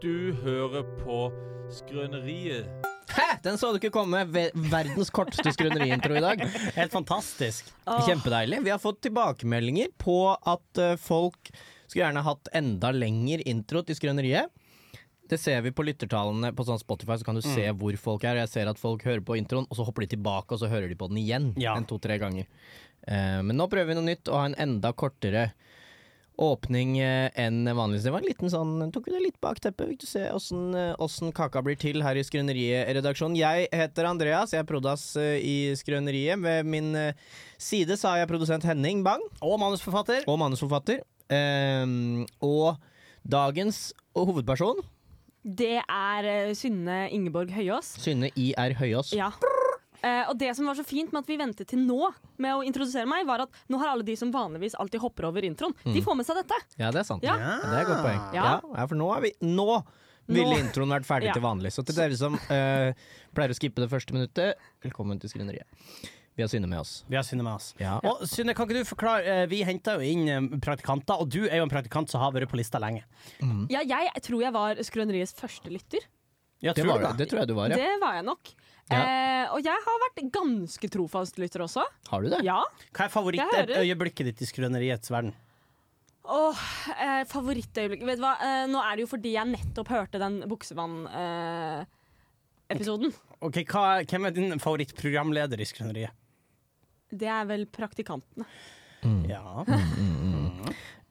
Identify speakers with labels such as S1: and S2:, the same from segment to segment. S1: Du hører på Skrøneriet.
S2: Hæ! Den så du ikke komme. Ve- Verdens korteste skrøneriintro i dag.
S3: Helt fantastisk.
S2: Kjempedeilig. Vi har fått tilbakemeldinger på at eh, folk skulle gjerne hatt enda lengre intro til skrøneriet. Det ser vi på lyttertallene på sånn Spotify, så kan du se hvor folk er. Jeg ser at folk hører på introen, og så hopper de tilbake, og så hører de på den igjen.
S3: Ja.
S2: En to-tre ganger. Eh, men nå prøver vi noe nytt, og ha en enda kortere åpning eh, enn vanligvis. Det var en liten sånn Tok vi det litt bak teppet? Fikk du se åssen eh, åssen kaka blir til her i Skrøneriet-redaksjonen? Jeg heter Andreas, jeg er prodas eh, i Skrøneriet. Ved min eh, side så har jeg produsent Henning Bang
S3: Og manusforfatter.
S2: og manusforfatter. Ehm, og dagens hovedperson,
S4: Det er eh, Synne Ingeborg Høyås.
S2: Synne IR Høyås.
S4: Ja. Eh, og det som var så fint med at vi ventet til nå med å introdusere meg, var at nå har alle de som vanligvis alltid hopper over introen, de får med seg dette.
S2: Ja, det er sant.
S4: Ja.
S2: Det er et godt poeng. Ja.
S4: Ja.
S2: ja, for nå er vi Nå ville
S4: Nå.
S2: introen vært ferdig
S4: Ja.
S2: til vanlig. Så til dere som eh, pleier å skippe det første minuttet, velkommen til Skrøneriet. Vi har Synne med oss.
S3: Vi har Synne med oss.
S2: Ja.
S3: Og Synne, kan ikke du forklare eh, Vi henta jo inn eh, praktikanter, og du er jo en praktikant som har vært på lista lenge.
S4: Ja, jeg tror jeg var Skrøneriets første lytter.
S3: Ja,
S2: Det,
S3: tror
S2: var,
S3: du
S2: det. det tror jeg du var, ja.
S4: Det var jeg nok.
S2: Ja.
S4: Eh, og jeg har vært ganske trofast lytter også.
S2: Har du det?
S4: Ja.
S3: Hva er
S4: Jeg hører.
S3: favorittøyeblikket ditt i skrøneriets verden?
S4: Åh, eh, favorittøyeblikk Vet du hva, eh, nå er det jo fordi jeg nettopp hørte den eh, Buksevann-episoden.
S3: Ok, hva, Hvem er din favorittprogramleder i skrøneriet?
S4: det er vel praktikantene.
S2: Mm.
S3: Ja.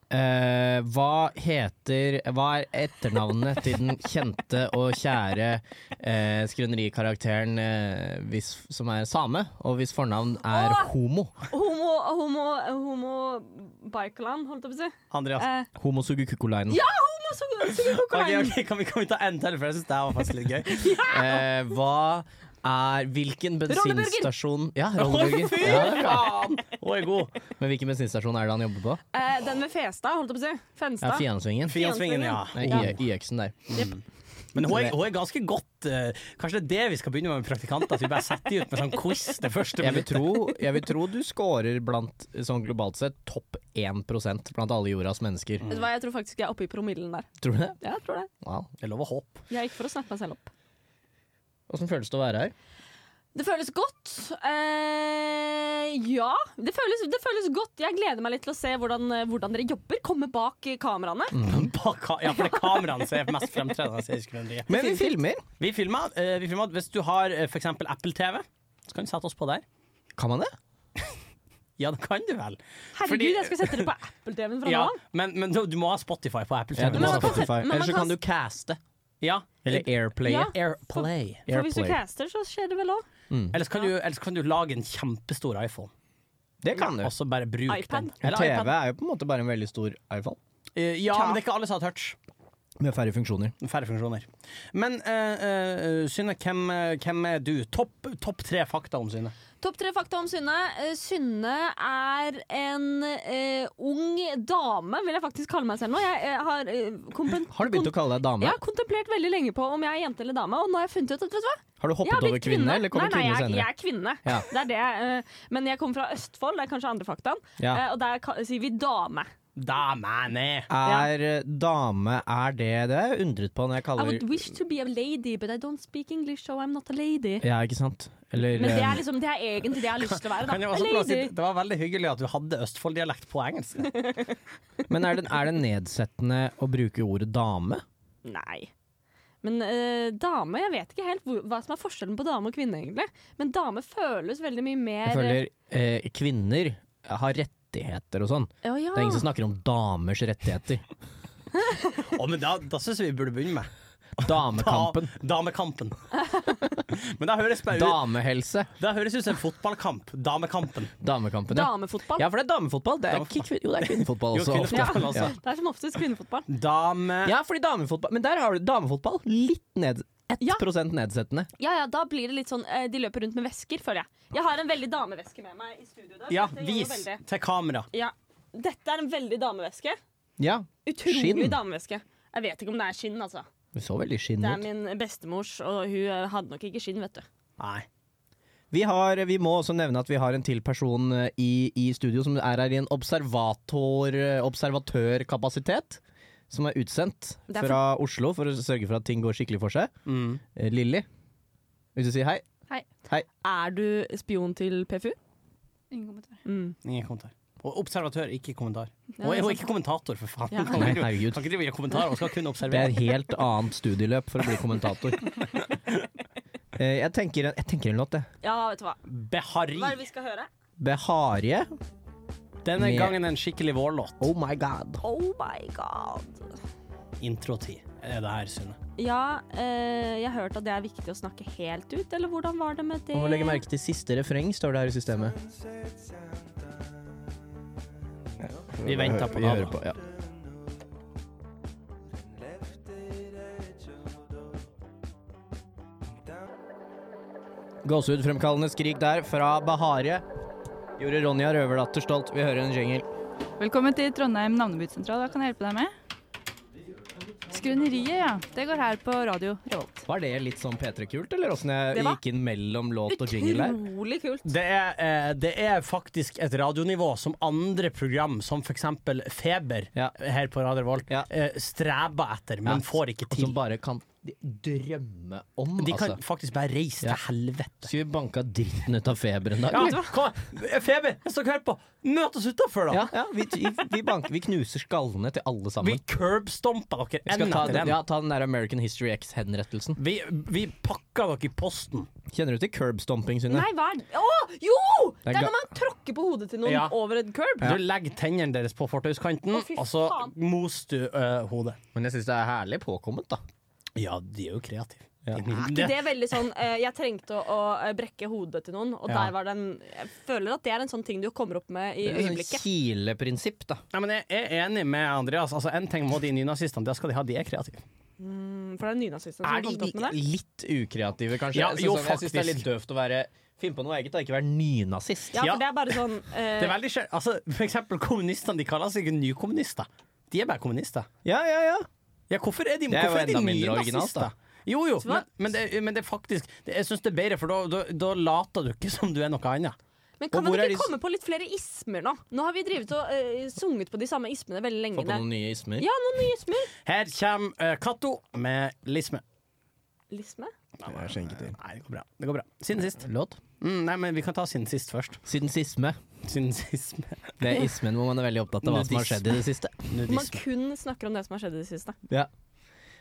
S2: Eh, hva heter Hva er etternavnet til den kjente og kjære uh, skrønerikarakteren eh, hvis, som er same, og hvis fornavn er
S4: Åh!
S2: homo?
S4: Homo, homo, homo Bikeland, holdt jeg på å si.
S3: Andreas.
S4: Eh,
S2: Homo sugukukulainen.
S4: homo sugu- sugekokolain.
S3: Ok, ok, kan, vi, kan vi ta en til, for jeg syns det her var faktisk litt gøy.
S2: Eh, hva er Hvilken
S4: Rolleburger!
S2: bensinstasjon Ja,
S3: Å,
S2: rolleburger.
S3: fy
S2: Ja, det er bra.
S3: faen! Hun er god.
S2: Men hvilken bensinstasjon er det han jobber på?
S4: Eh, den ved Festad, holdt jeg på å si.
S2: Ja,
S4: Fenstad.
S2: Fiansvingen.
S3: Fiansvingen, ja.
S2: Nei,
S4: Ja.
S2: I- YX-en der.
S3: Men hun er, hun er ganske godt eh, Kanskje det er det vi skal begynne med med praktikanter? At vi bare setter de ut med sånn quiz det første
S2: Jeg vil,
S3: minuttet.
S2: tro, jeg vil tro du scorer blant, sånn globalt sett, topp 1 blant alle jordas mennesker.
S4: Vet du hva, jeg tror faktisk jeg er oppe i promillen der.
S2: Tror du det?
S4: Ja, jeg tror det.
S2: Wow.
S3: Det er lov å håpe.
S4: Jeg gikk for å snakke meg selv opp.
S2: Åssen føles det å være her?
S4: Det føles godt. Eh, ja, det føles, det føles godt. Jeg gleder meg litt til å se hvordan, eh, hvordan dere jobber. Komme bak eh, kameraene.
S2: Mm.
S3: Bak ka- Ja, for det er kameraene som er mest fremtredende. i serieskrøneriet.
S2: Men vi filmer.
S3: Vi filmer, eh, vi filmer at hvis du har eh, for eksempel Apple TV, så kan du sette oss på der.
S2: Kan man det?
S3: Ja, det kan du vel.
S4: Herregud,
S3: Fordi-
S4: jeg skal sette det på Apple-TV-en fra
S3: Ja,
S4: nå av.
S3: men, men du, du må ha Spotify på Apple TV.
S4: du må ha
S3: Ja,
S4: Spotify. men man
S2: Eller så
S4: kan-
S2: kan du caste. Eller airplay.
S4: Ja.
S3: Airplay.
S4: For hvis du
S2: Airplay.
S4: caster, så skjer det vel òg.
S3: Ellers kan, du, ellers kan du lage en kjempestor iPhone,
S2: Det kan du.
S3: og så bare bruke
S4: iPad.
S3: den.
S2: En
S3: Eller
S2: TV
S3: iPad.
S2: er jo på en måte bare en veldig stor iPhone.
S3: Eh, Ja, men det er ikke alle som har touch.
S2: Med færre funksjoner.
S3: Færre funksjoner. Men eh, eh, Synne, hvem, eh, hvem er du? Topp topp tre fakta om Synne.
S4: Topp tre fakta om Synne. Eh, Synne er en eh, ung dame, vil jeg faktisk kalle meg selv nå. Jeg eh, har, eh, kompen-
S2: Har du begynt å kalle deg dame?
S4: Jeg har kontemplert veldig lenge på om jeg er jente eller dame, og nå har jeg funnet ut at vet du hva?
S2: Har du
S4: Jeg
S2: hoppet
S4: har blitt
S2: over kvinne, eller kommer
S4: nei, nei,
S2: kvinne
S4: jeg,
S2: senere?
S4: Jeg er kvinne.
S2: Ja.
S4: Det er det. eh, Men jeg kommer fra Østfold, det er kanskje andre faktaen.
S2: Ja.
S4: Eh, Og der ka- sier vi dame.
S3: Damene!
S2: Er eh, dame Er det Det er jeg undret på når jeg
S4: I
S2: kaller
S4: would wish to be a lady, but I don't speak English, so I'm not a lady.
S2: Ja, ikke sant? Eller
S4: Men det
S2: eh,
S4: er liksom, det er egentlig det jeg har lyst til å være.
S3: Kan jeg
S4: Da.
S3: også få lov til å si,
S4: Lady.
S3: det var veldig hyggelig at du hadde Østfold-dialekt på engelsk.
S2: eh, Men er det, er det nedsettende å bruke ordet dame?
S4: Nei. Men eh, dame, jeg vet ikke helt hvor, hva som er forskjellen på dame og kvinne, egentlig. Men dame føles veldig mye mer
S2: Jeg føler eh, kvinner har rettigheter og sånn.
S4: Å, ja.
S2: Det er ingen som snakker om damers rettigheter.
S3: Å, men da, da syns jeg vi burde begynne med
S2: Damekampen.
S3: Da, damekampen. men da høres bare ut
S2: Damehelse.
S3: Da høres ut som en fotballkamp. Damekampen.
S2: Damekampen, ja.
S4: Damefotball.
S2: Ja, for det er damefotball. Det er ikke kvin jo, det er kvinnefotball
S3: Jo,
S2: også. ofte.
S3: kvinnefotball også.
S2: Ja.
S4: Det er som oftest kvinnefotball.
S3: Dame...
S2: Ja, fordi damefotball Men der har du damefotball. Litt ned 1
S4: Ja.
S2: nedsettende.
S4: Ja, ja, da blir det litt sånn eh, De løper rundt med vesker, føler jeg. Jeg har en veldig dameveske med meg i studio. Der,
S3: Ja,
S4: så dette gjør jo
S3: vis
S4: veldig-
S3: til kamera.
S4: Ja. Dette er en veldig dameveske.
S2: Ja.
S4: Utrolig
S2: Skinn.
S4: dameveske. Jeg vet ikke om det er skinn, altså.
S2: Du så veldig skinn
S4: Det er
S2: ut.
S4: min bestemors, og hun eh, hadde nok ikke skinn, vet du.
S3: Nei.
S2: Vi, har, vi må også nevne at vi har en til person eh, i, i studio som er her i en observator, eh, observatørkapasitet. som er utsendt
S4: Det er for-
S2: fra Oslo for å sørge for at ting går skikkelig for seg.
S3: Mm.
S2: Eh, Lilly, vil du si hei?
S4: Er du spion til PFU?
S5: Ingen kommentar.
S4: Mm.
S3: Ingen kommentar. Og observatør, ikke kommentar.
S4: Ja,
S3: og
S4: det
S3: jeg
S4: er
S3: er
S4: sant.
S3: ikke kommentator, for faen.
S4: Ja.
S3: Kan
S2: Nei,
S3: ikke-
S2: herregud.
S3: Kan ikke drive og gjøre kommentarer, og skal
S2: Det
S3: kun
S2: er
S3: observere.
S2: et helt annet studieløp for å bli kommentator. Eh, jeg, tenker en, jeg tenker en låt, jeg.
S4: ja, vet du hva. Hva er det
S3: Behari.
S4: vi skal høre?
S2: Beharie.
S3: Denne
S2: Med-
S3: gangen en skikkelig vårlåt.
S2: Oh my god.
S4: Oh my god.
S3: Introtid er det her, Synne.
S4: Ja, eh, jeg har hørt at det er viktig å snakke helt ut, eller hvordan var det med det?
S2: Man må legge merke til siste refreng, står det her i systemet.
S3: Vi venter på
S2: Vi
S3: det.
S2: hører
S3: da.
S2: på, ja. Gåsehudfremkallende skrik der fra Baharie. Gjorde Ronja Røverdatter stolt. Vi hører en jingle.
S5: Velkommen til Trondheim navnebyttsentral. Hva kan jeg hjelpe deg med? Skrøneriet, ja. Det går her på radio Revolt.
S2: Var det litt sånn P3-kult, eller åssen jeg
S4: Det var-
S2: gikk inn mellom låt og jingle der?
S4: Utrolig kult.
S3: Det er, eh, det er faktisk et radionivå som andre program, som f.eks. Feber
S2: Ja.
S3: her på Radio Revolt,
S2: Ja.
S3: eh, streber etter, men
S2: Ja.
S3: får ikke
S2: Som
S3: til.
S2: bare kan de drømme om,
S3: De kan
S2: altså.
S3: faktisk bare reise
S2: Ja.
S3: til helvete.
S2: Skulle vi banka dritten ut av feber en dag?
S3: Ja,
S2: eller?
S4: altså.
S3: kom, Feber, jeg skal høre på! Møt oss utafor, da!
S2: Ja, ja, vi, vi, vi, banker, vi knuser skallene til alle
S3: Vi
S2: sammen.
S3: curbstomper dere
S2: Vi skal
S3: en
S2: ta,
S3: etter en.
S2: ja, ta den der American History X-henrettelsen.
S3: Vi, vi pakker dere i posten.
S2: Kjenner du til curbstomping, Synne?
S4: Nei, hva er det? Å, jo!
S2: Det
S4: Det
S2: er
S4: er
S2: ga-
S4: når man tråkker på hodet til noen
S3: Ja.
S4: over en curb.
S3: Du legger tennene deres på fortauskanten,
S4: fy
S3: og så
S4: faen.
S3: moser du eh, hodet.
S2: Men jeg syns det er herlig påkommet, da.
S3: Ja, de er jo kreative.
S2: Ja.
S3: De-
S4: Er ikke det veldig sånn eh, Jeg trengte å, å eh, brekke hodet til noen, og
S3: Ja.
S4: der var den Jeg føler at det er en sånn ting du kommer opp med i
S2: Det er sånn
S4: øyeblikket.
S2: kileprinsipp, da.
S3: Nei, men jeg er enig med Andreas. Altså, en ting må de nynazistene, det skal de ha. De er kreative.
S4: Mm, For det er nynazistene som har kommet opp med det.
S2: Sånn litt ukreative, kanskje?
S3: Ja,
S2: Jeg synes
S3: jo,
S2: sånn- jeg syns det er
S3: faktisk.
S2: litt døvt å være Finne på noe eget, da. Ikke være nynazist.
S4: Ja,
S3: Ja.
S4: for det er bare sånn eh,
S3: Det er veldig skjønt. Altså, for eksempel kommunistene, de kaller seg ikke nykommunister. De er bare kommunister.
S2: Ja, ja, ja.
S3: Ja, hvorfor er de,
S2: Det er jo
S3: hvorfor er de
S2: enda mindre originalt, da.
S3: nynazister? Jo, jo,
S4: hva?
S3: men, men, det, men det er faktisk det, Jeg syns det er bedre, for da, da, da later du ikke som du er noe annet.
S4: Men kan
S2: Og hvor
S4: man
S2: er de
S4: ikke
S2: s-
S4: komme på litt flere ismer nå? Nå har vi drivet og eh, sunget på de samme ismene veldig lenge.
S2: Få på noen nye ismer.
S4: Ja, noen nye ismer.
S3: Her kommer eh, Cato med Lisme.
S4: Lisme?
S3: Nei, det går bra. Det går bra. Siden sist.
S2: Låt.
S3: Mm, nei, men vi kan ta siden sist først.
S2: Siden sisme.
S3: Siden sist med
S2: Det er ismen hvor man er veldig opptatt av hva som har skjedd i det siste.
S4: Man
S3: nudisme.
S4: kun snakker om det som har skjedd i det siste.
S2: Ja.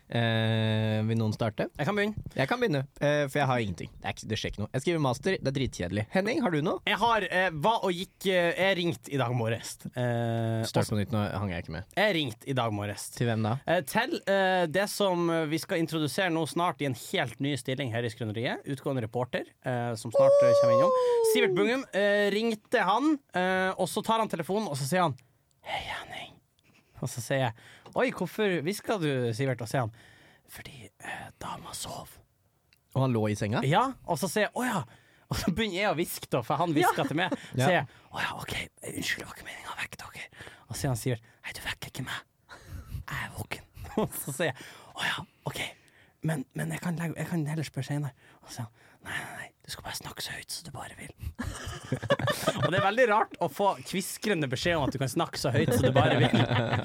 S2: Eh, vil noen starte?
S3: Jeg kan begynne.
S2: Jeg kan begynne, eh, for jeg har ingenting. Det, er ikke, det skjer ikke noe. Jeg skriver master, det er dritkjedelig. Henning, har du noe?
S3: Jeg har eh, hva og gikk eh, Jeg ringte i dag morges. Eh,
S2: Start på nytt, nå hang jeg ikke med.
S3: Jeg ringte i dag morges.
S2: Til hvem da?
S3: Eh, Til eh, det som eh, vi skal introdusere nå snart i en helt ny stilling her i Skrøneriet. Utgående reporter, eh, som snart eh, kommer innom. Sivert Bungum eh, ringte han, eh, og så tar han telefonen, og så sier han Hei, Henning. Og så sier jeg Oi, hvorfor hvisker du, Sivert? Og så sier han Fordi eh, dama sov.
S2: Og han lå i senga?
S3: Ja, og så sier jeg å ja. Og så begynner jeg å hviske, da, for han hvisker til meg. Så
S2: Ja.
S3: sier jeg å ja, OK, unnskyld, det var ikke meninga å vekke dere. Og så sier han Sivert hei, du vekker ikke meg. Jeg er våken. Og så sier jeg å ja, OK, men, men jeg, kan legge, jeg kan heller spørre seinere. Og så sier han nei, nei, nei, du skal bare snakke så høyt som du bare vil. og det er veldig rart å få kviskrende beskjed om at du kan snakke så høyt som du bare vil.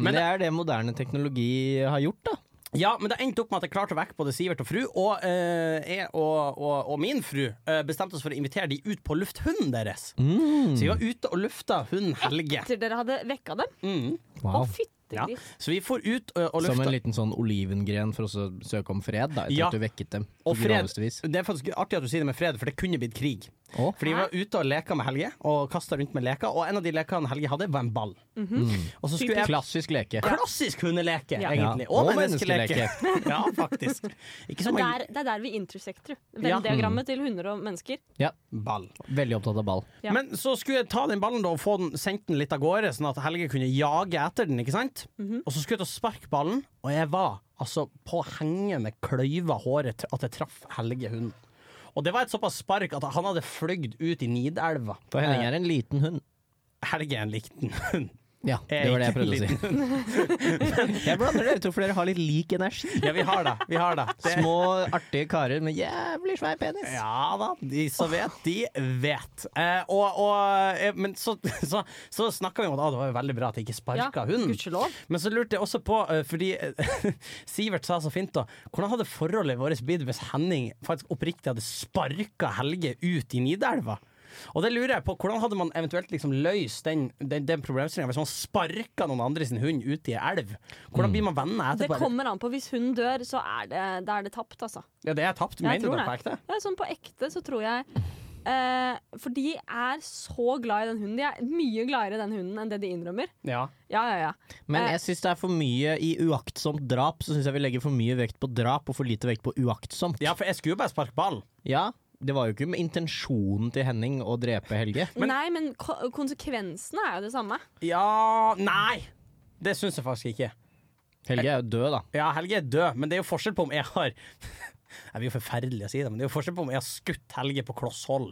S2: Men det er det moderne teknologi har gjort, da.
S3: Ja, men det endte opp med at jeg klarte å vekke både Sivert og fru, og eh, jeg og, og, og min fru eh, bestemte oss for å invitere de ut på lufthunden deres.
S2: Mm.
S3: Så vi var ute og lufta hunden Helge.
S4: Etter dere hadde vekka dem?
S3: Mm.
S4: Å,
S2: Wow.
S3: Ja.
S4: fyttegris.
S3: Så vi for ut eh, og
S2: Som en
S3: lufta.
S2: liten sånn olivengren for å så søke om fred, da, etter
S3: Ja.
S2: at du vekket dem. på
S3: Og fred,
S2: groveste vis.
S3: det er faktisk artig at du sier det med fred, for det kunne blitt krig.
S2: Å?
S3: Fordi vi var ute og leka med Helge, og kasta rundt med leker, og en av de lekene Helge hadde, var en ball.
S2: Mm.
S3: Og så skulle jeg
S2: Klassisk leke.
S3: Klassisk hundeleke,
S4: Ja.
S3: egentlig.
S2: Ja.
S3: Og
S2: Og
S3: menneskeleke. ja, faktisk. Ikke som
S4: Det
S3: en
S4: er, det er der vi intersekter.
S3: Ja. Mm.
S4: Venn-diagrammet til hunder og mennesker.
S2: Ja.
S3: ball.
S2: Veldig opptatt av ball.
S4: Ja.
S3: Men så skulle jeg ta den ballen da og få den, sendt den litt av gårde, sånn at Helge kunne jage etter den. ikke sant? Og så skulle jeg ta og sparke ballen, og jeg var altså på hengende kløyva håret til at jeg traff Helge hunden. Og det var et såpass spark at han hadde flygd ut i Nidelva. Eh,
S2: Eh. For Henning er en liten hund.
S3: Helge er en liten hund.
S2: Ja, det var det jeg prøvde å si. Jeg blander dere to, for dere har litt lik energi.
S3: Ja, vi har det. Vi har det. det
S2: Små, artige karer med jævlig svær penis.
S3: ja da, de som vet, de vet. Eh, og, og, eh, men så, så, så snakka vi om at ah, det var jo veldig bra at jeg ikke sparka hunden.
S4: Gudskjelov.
S3: Men så lurte jeg også på, eh, fordi eh, Sivert sa så fint da, hvordan hadde forholdet vårt blitt hvis Henning faktisk oppriktig hadde sparka Helge ut i Nidelva? Og det lurer jeg på, hvordan hadde man eventuelt liksom løst den, den, den problemstillingen hvis man sparka noen andre sin hund ut i ei elv? Hvordan blir man venner
S4: Det
S3: etterpå?
S4: kommer an på. Hvis hun dør, så er det, da er det tapt, altså.
S3: Ja, det er tapt,
S4: Jeg
S3: mener du
S4: tror
S3: det
S4: det.
S3: på ekte?
S4: Ja, sånn på ekte så tror jeg eh, For de er så glad i den hunden. De er mye gladere i den hunden enn det de innrømmer.
S3: Ja.
S4: Ja, ja, ja.
S2: Men jeg syns det er for mye i uaktsomt drap. Så syns jeg vi legger for mye vekt på drap og for lite vekt på uaktsomt.
S3: ja, for jeg skulle jo bare sparke ballen.
S2: Ja, det var jo ikke med intensjonen til Henning å drepe Helge.
S4: Nei, men ko konsekvensene er jo det samme.
S3: Ja Nei! Det syns jeg faktisk ikke.
S2: Helge er jo død, da.
S3: Ja, Helge er død, men det er jo forskjell på om jeg har Jeg blir jo forferdelig å si det, men det er jo forskjell på om jeg har skutt Helge på kloss hold,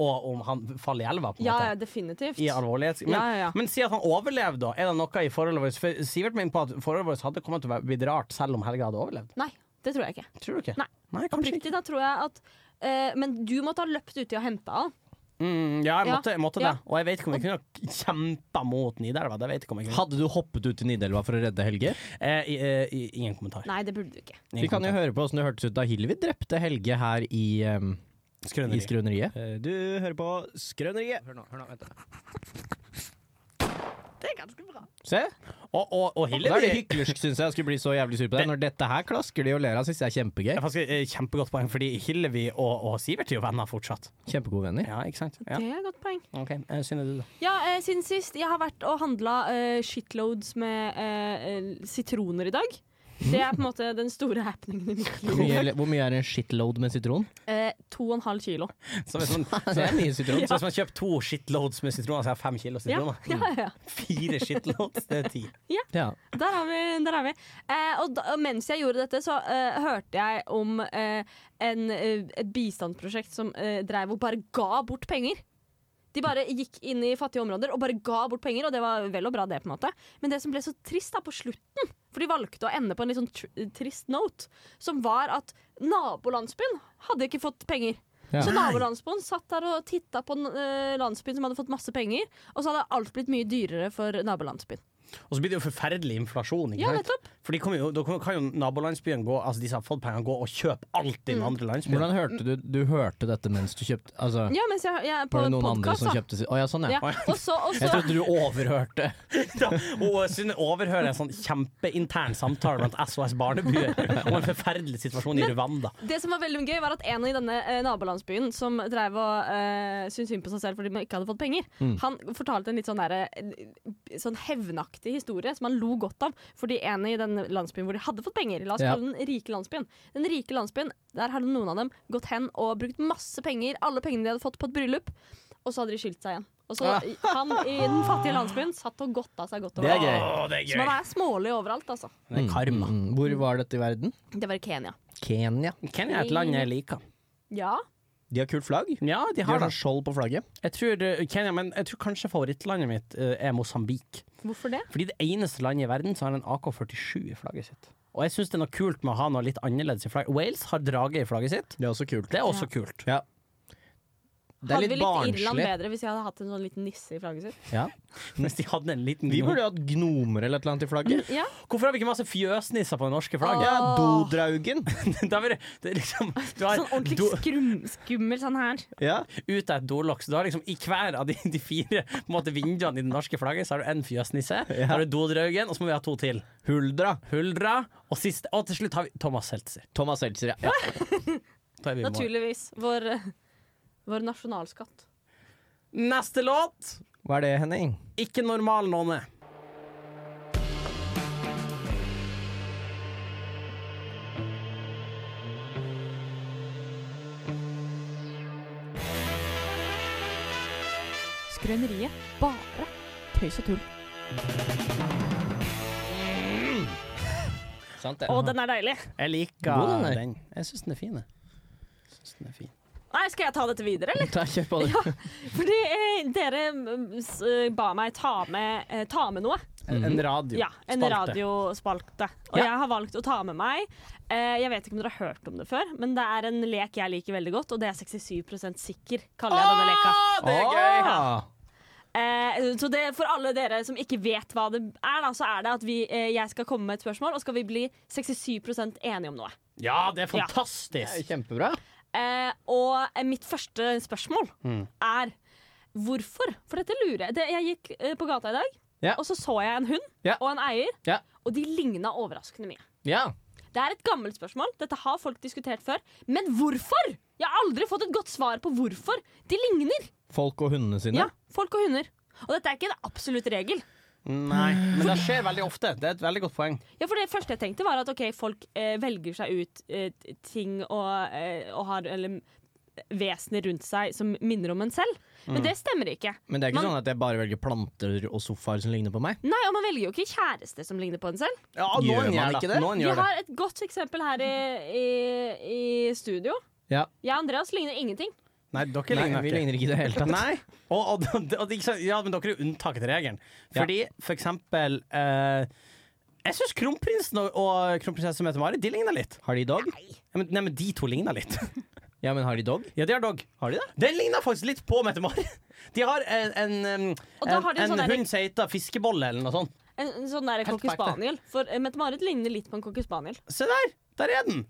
S3: og om han faller i elva. på en
S4: Ja, ja,
S3: måte
S4: definitivt.
S3: i alvorlighets... Men,
S4: Ja, ja, ja.
S3: men si at han overlevde, da. Er det noe i forholdet vårt? For Sivert mener på at forholdet vårt hadde kommet til å bli rart selv om Helge hadde overlevd.
S4: Nei, det tror jeg ikke.
S3: Tror du ikke?
S4: Nei.
S3: kanskje ikke.
S4: Oppriktig, da tror jeg at eh, Men du måtte ha løpt uti og henta han.
S3: Mm, ja, jeg
S4: Ja.
S3: måtte, jeg måtte
S4: Ja.
S3: det. Og jeg vet ikke om jeg kunne ha kjempa mot Nidelva. Det vet jeg ikke om jeg kunne.
S2: Hadde du hoppet ut i Nidelva for å redde Helge?
S3: Eh, i- eh, i- ingen kommentar.
S4: Nei, det burde du ikke.
S2: Vi kan jo høre på åssen det hørtes ut da Hilvi drepte Helge her i, ehm, i
S3: Skrøneri.
S2: Skrøneriet. Du hører på Skrøneriet. Hør nå, hør nå, vent da.
S4: Det er ganske bra.
S2: Se,
S3: Og, og, og
S2: da er det
S3: Hillevi
S2: hyklersk, syns jeg. Jeg skulle bli så jævlig sur på deg. Når dette her klasker de og ler av, syns jeg er kjempegøy.
S3: Det er faktisk et eh, kjempegodt poeng, fordi Hillevi og, og Sivert er jo venner fortsatt.
S2: Kjempegode venner.
S3: Ja, ikke sant? Ja.
S4: Det er et godt poeng.
S3: OK, eh, Synne, du, da.
S4: Ja, eh, siden sist. Jeg har vært og handla eh, shitloads med eh, eh, sitroner i dag. Det er på en måte den store happeningen i mitt
S2: Hvor
S4: liv.
S2: mye, hvor mye er en shitload med sitron?
S4: Eh, to og en halv kilo.
S3: Så hvis man,
S2: Det er mye sitron.
S3: så hvis man kjøper to shitloads med sitroner, så har jeg fem kilo
S4: Ja,
S3: sitroner.
S4: ja, ja.
S3: Fire shitloads, det er ti.
S2: Ja.
S4: Der er vi. Der er vi. Eh, og da, og mens jeg gjorde dette, så eh, hørte jeg om eh, en, eh, et bistandsprosjekt som eh, dreiv og bare ga bort penger. De bare gikk inn i fattige områder og bare ga bort penger, og det var vel og bra, det. på en måte. Men det som ble så trist da på slutten, for de valgte å ende på en litt sånn tr trist note, som var at nabolandsbyen hadde ikke fått penger.
S2: Ja.
S4: Så nabolandsbyen satt der og titta på den, eh, landsbyen som hadde fått masse penger, og så hadde alt blitt mye dyrere for nabolandsbyen.
S3: Og så blir det jo forferdelig inflasjon. Ikke
S4: Ja,
S3: sant?
S4: nettopp.
S3: For de kommer jo, da kan jo nabolandsbyen gå, altså de som har fått penger, gå og kjøpe alt i den andre landsbyen.
S2: Hvordan hørte du Du hørte dette mens du kjøpte Altså,
S4: Ja, mens jeg, jeg er på
S2: var det noen andre
S4: podcast,
S2: som
S4: da.
S2: kjøpte si- Å ja, sånn ja.
S4: Ja. Og så, og
S2: Jeg
S4: så,
S2: trodde du overhørte.
S3: Da, og eh, Synne overhører en sånn kjempeintern samtale blant SOS Barnebyer om en forferdelig situasjon i Rwanda.
S4: det som var veldig gøy, var at en i denne eh, nabolandsbyen som drev og eh, syntes synd på seg selv fordi man ikke hadde fått penger,
S2: Mm.
S4: han fortalte en litt sånn, derre, eh, sånn hevnaktig historie som han lo godt av. Fordi en i den landsbyen hvor de hadde fått penger, la oss
S2: Ja.
S4: kalle den rike landsbyen, den rike landsbyen, der hadde noen av dem gått hen og brukt masse penger, alle pengene de hadde fått på et bryllup, og så hadde de skilt seg igjen. Og så han i den fattige landsbyen satt og godta seg godt over.
S2: Ah. Det er gøy.
S3: Å, det
S4: Så
S3: er
S4: man
S3: gøy!
S4: er smålig overalt, altså.
S3: Det er karma.
S2: Mm, Hvor var dette i verden?
S4: Det var i Kenya.
S2: Kenya.
S3: Kenya er et land jeg liker.
S4: Ja.
S2: De har kult flagg.
S3: Ja, de
S2: De har
S3: har det.
S2: sånn skjold på flagget.
S3: Jeg tror, eh, Kenya, men jeg tror kanskje favorittlandet mitt eh, er Mosambik.
S4: Hvorfor det?
S3: Fordi det eneste landet i verden som har en AK-47 i flagget sitt. Og jeg syns det er noe kult med å ha noe litt annerledes i flagget. Wales har drage i flagget sitt.
S2: Det er også kult.
S3: Det er også kult.
S2: Ja. Det er
S4: Hadde vi
S2: litt
S4: likt Irland
S2: barnslig.
S4: bedre hvis jeg hadde hatt en sånn liten nisse i flagget sitt?
S2: Ja.
S3: Hvis de hadde en liten
S2: Vi burde jo hatt gnomer eller et eller annet i flagget.
S4: Ja.
S3: Hvorfor har vi ikke masse fjøsnisser på det norske flagget?
S2: Ja, Dodraugen.
S3: Da blir det, det er liksom, du har
S4: Sånn ordentlig
S3: do,
S4: skrum, skummel sånn her.
S2: Ja.
S3: ut av et dolokk, så du har liksom i hver av de, de fire på en måte, vinduene i det norske flagget, så har du en fjøsnisse, så har du Dodraugen, og så må vi ha to til.
S2: Huldra.
S3: Huldra, og, siste, og til slutt har vi Thomas Seltzer.
S2: Thomas Seltzer, ja. ja.
S3: Da er vi i mål.
S4: Naturligvis. Vår, eh, vår nasjonalskatt.
S3: Neste låt
S2: Hva er det, Henning?
S3: Ikke normal nonne.
S5: Skrøneriet. Bare tøys og tull.
S2: Sant det?
S4: Å, den er deilig!
S3: Jeg liker
S2: God den der.
S3: den. Jeg syns den er fin. jeg. Synes den er fin.
S4: Nei, skal jeg ta dette videre, eller?
S2: Ta, kjør på, du.
S4: Ja, fordi eh, dere mm, s- eh, ba meg ta med, eh, ta med noe.
S3: En, en radio.
S4: Ja, en
S3: Spalte.
S4: radiospalte. Og
S3: Ja.
S4: jeg har valgt å ta med meg eh, Jeg vet ikke om dere har hørt om det før, men det er en lek jeg liker veldig godt, og det er 67 sikker, kaller jeg denne leka.
S3: det er gøy!
S2: Åh!
S4: Eh, så det, for alle dere som ikke vet hva det er, da, så er det at vi, eh, jeg skal komme med et spørsmål, og skal vi bli 67 enige om noe.
S3: Ja,
S2: Det
S3: det er
S2: er
S3: fantastisk!
S2: Kjempebra.
S4: Eh, og eh, mitt første spørsmål
S3: Mm.
S4: er hvorfor? For dette lurer jeg. Det, jeg gikk eh, på gata i dag,
S2: Ja.
S4: og så så jeg en hund
S2: Ja.
S4: og en eier,
S2: Ja.
S4: og de ligna overraskende mye.
S2: Ja.
S4: Det er et gammelt spørsmål, dette har folk diskutert før, men hvorfor? Jeg har aldri fått et godt svar på hvorfor de ligner.
S2: Folk og hundene sine.
S4: Ja, folk og hunder. Og dette er ikke en absolutt regel.
S3: Nei, men det skjer veldig ofte. Det er et veldig godt poeng.
S4: Ja, for Det første jeg tenkte, var at ok, folk eh, velger seg ut eh, t- ting og, eh, og har eller, vesener rundt seg som minner om en selv. Men
S3: Mm.
S4: det stemmer ikke.
S2: Men det er ikke
S4: Man-
S2: sånn at jeg bare velger planter og sofaer som ligner på meg.
S4: Nei, Og man velger jo ikke kjæreste som ligner på en selv.
S3: Ja,
S2: Gjør man
S3: gjør
S2: ikke
S3: det.
S2: det?
S3: Noen
S4: Vi
S3: gjør det.
S4: har et godt eksempel her i, i, i studio.
S2: Ja.
S4: Jeg og Andreas ligner ingenting.
S3: Nei, dere
S2: Nei,
S3: ligner
S2: vi
S3: ikke.
S2: ligner ikke i det hele tatt.
S3: Nei, og, og, og, det- ikke sant? ja, men dere er jo unntaket til regelen.
S2: Ja.
S3: Fordi for eksempel eh, Jeg syns kronprinsen og, og kronprinsesse Mette-Marit de ligner litt.
S2: Har de dog?
S3: Ja, men, nei, men de to ligner litt.
S2: Ja, men har de dog?
S3: Ja, de har dog.
S2: Har de det?
S3: Den ligner faktisk litt på Mette-Marit. De har en, en, um,
S4: Og da
S3: en,
S4: har de en
S3: en
S4: sånn der-
S3: hund som heter Fiskebolle, eller noe sånt.
S4: En, en sånn der
S3: Helt
S4: cocker
S3: fakta.
S4: spaniel. For eh, Mette-Marit ligner litt på en cocker spaniel.
S3: Se der! Der er den!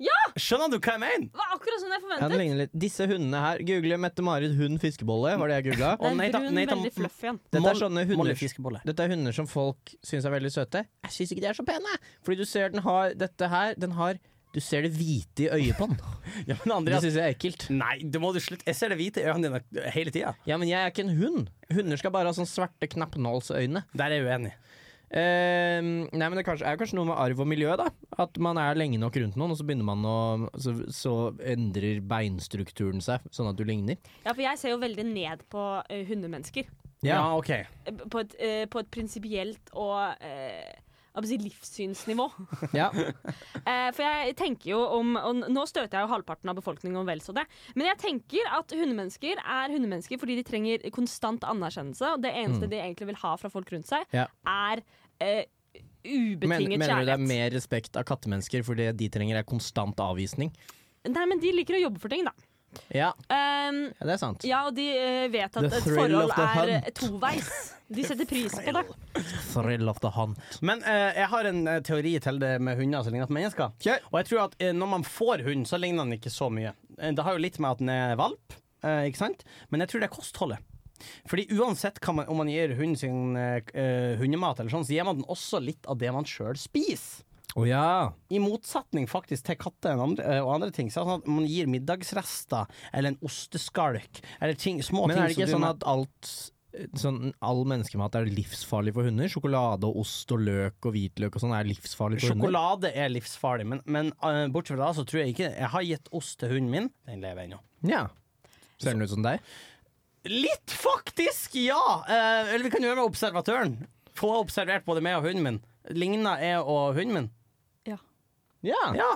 S4: Ja!
S3: Skjønner du hva jeg mener?
S4: Det var akkurat sånn jeg
S2: Ja, det
S4: forventet.
S2: ligner litt. Disse hundene her Google Mette-Marit hund fiskebolle, var det jeg googla.
S4: Det er
S3: Å, nei da,
S4: brun,
S3: nei da,
S4: veldig fluff igjen.
S2: Dette er sånne
S3: Molly
S2: hunder
S3: Fiskebolle.
S2: Dette er hunder som folk syns er veldig søte. Jeg syns ikke de er så pene! Fordi du ser den har dette her, den har Du ser det hvite i øyet på den.
S3: Ja, men
S2: Det
S3: Andreas
S2: syns jeg er ekkelt.
S3: Nei, det må du slutte. Jeg ser det hvite i øynene dine hele tida.
S2: Ja, men jeg er ikke en hund. Hunder skal bare ha sånne svarte knappnålsøyne.
S3: Der er jeg uenig.
S2: Eh, nei, men det kanskje, er kanskje noe med arv og miljø, da. At man er lenge nok rundt noen, og så begynner man å Så, så endrer beinstrukturen seg, sånn at du ligner.
S4: Ja, for jeg ser jo veldig ned på eh, hundemennesker.
S3: Ja, OK.
S4: Eh, På et, eh, på et prinsipielt og eh, hva skal jeg si, livssynsnivå.
S2: Ja.
S4: Eh, for jeg tenker jo om Og nå støter jeg jo halvparten av befolkningen om vel så det. Men jeg tenker at hundemennesker er hundemennesker fordi de trenger konstant anerkjennelse. Og det eneste de egentlig vil ha fra folk rundt seg,
S2: Mm. Ja.
S4: er eh,
S2: Men, mener
S4: ubetinget
S2: du det er
S4: kjærlighet.
S2: mer respekt av kattemennesker fordi de trenger er konstant avvisning?
S4: Nei, men de liker å jobbe for ting, da.
S2: Ja,
S4: Um,
S2: ja det er sant.
S4: ja, og de eh, vet
S2: The
S4: at et
S2: thrill
S4: forhold
S2: of the
S4: er
S2: hunt.
S4: eh, toveis. De setter pris på det.
S2: Thrill of the hunt.
S3: Men eh, jeg har en eh, teori til det med hunder som ligner på mennesker.
S2: Kjør.
S3: Og jeg tror at eh, når man får hund, så ligner den ikke så mye. Eh, Det har jo litt med at den er valp, eh, ikke sant? Men jeg tror det er kostholdet. Fordi uansett hva man, om man gir hunden sin eh, k- eh, hundemat, eller sånn, så gir man den også litt av det man sjøl spiser.
S2: Å ja.
S3: I motsetning faktisk til katter og andre, eh, og andre ting. Så er det sånn at man gir middagsrester eller en osteskalk eller ting, små
S2: Men
S3: ting
S2: er det ikke
S3: som du-
S2: sånn at alt Sånn, all menneskemat er livsfarlig for hunder? Sjokolade og ost og løk og hvitløk og sånn er livsfarlig for hunder?
S3: Sjokolade er livsfarlig, men, men eh, bortsett fra det så tror jeg ikke Jeg har gitt ost til hunden min. Den lever ennå.
S2: Ja. Ser den ut som deg?
S3: Litt, faktisk! Ja! Eh, eller vi kan gjøre med observatøren. Få observert både meg og hunden min. Ligna jeg og hunden min?
S2: Ja.
S3: Ja!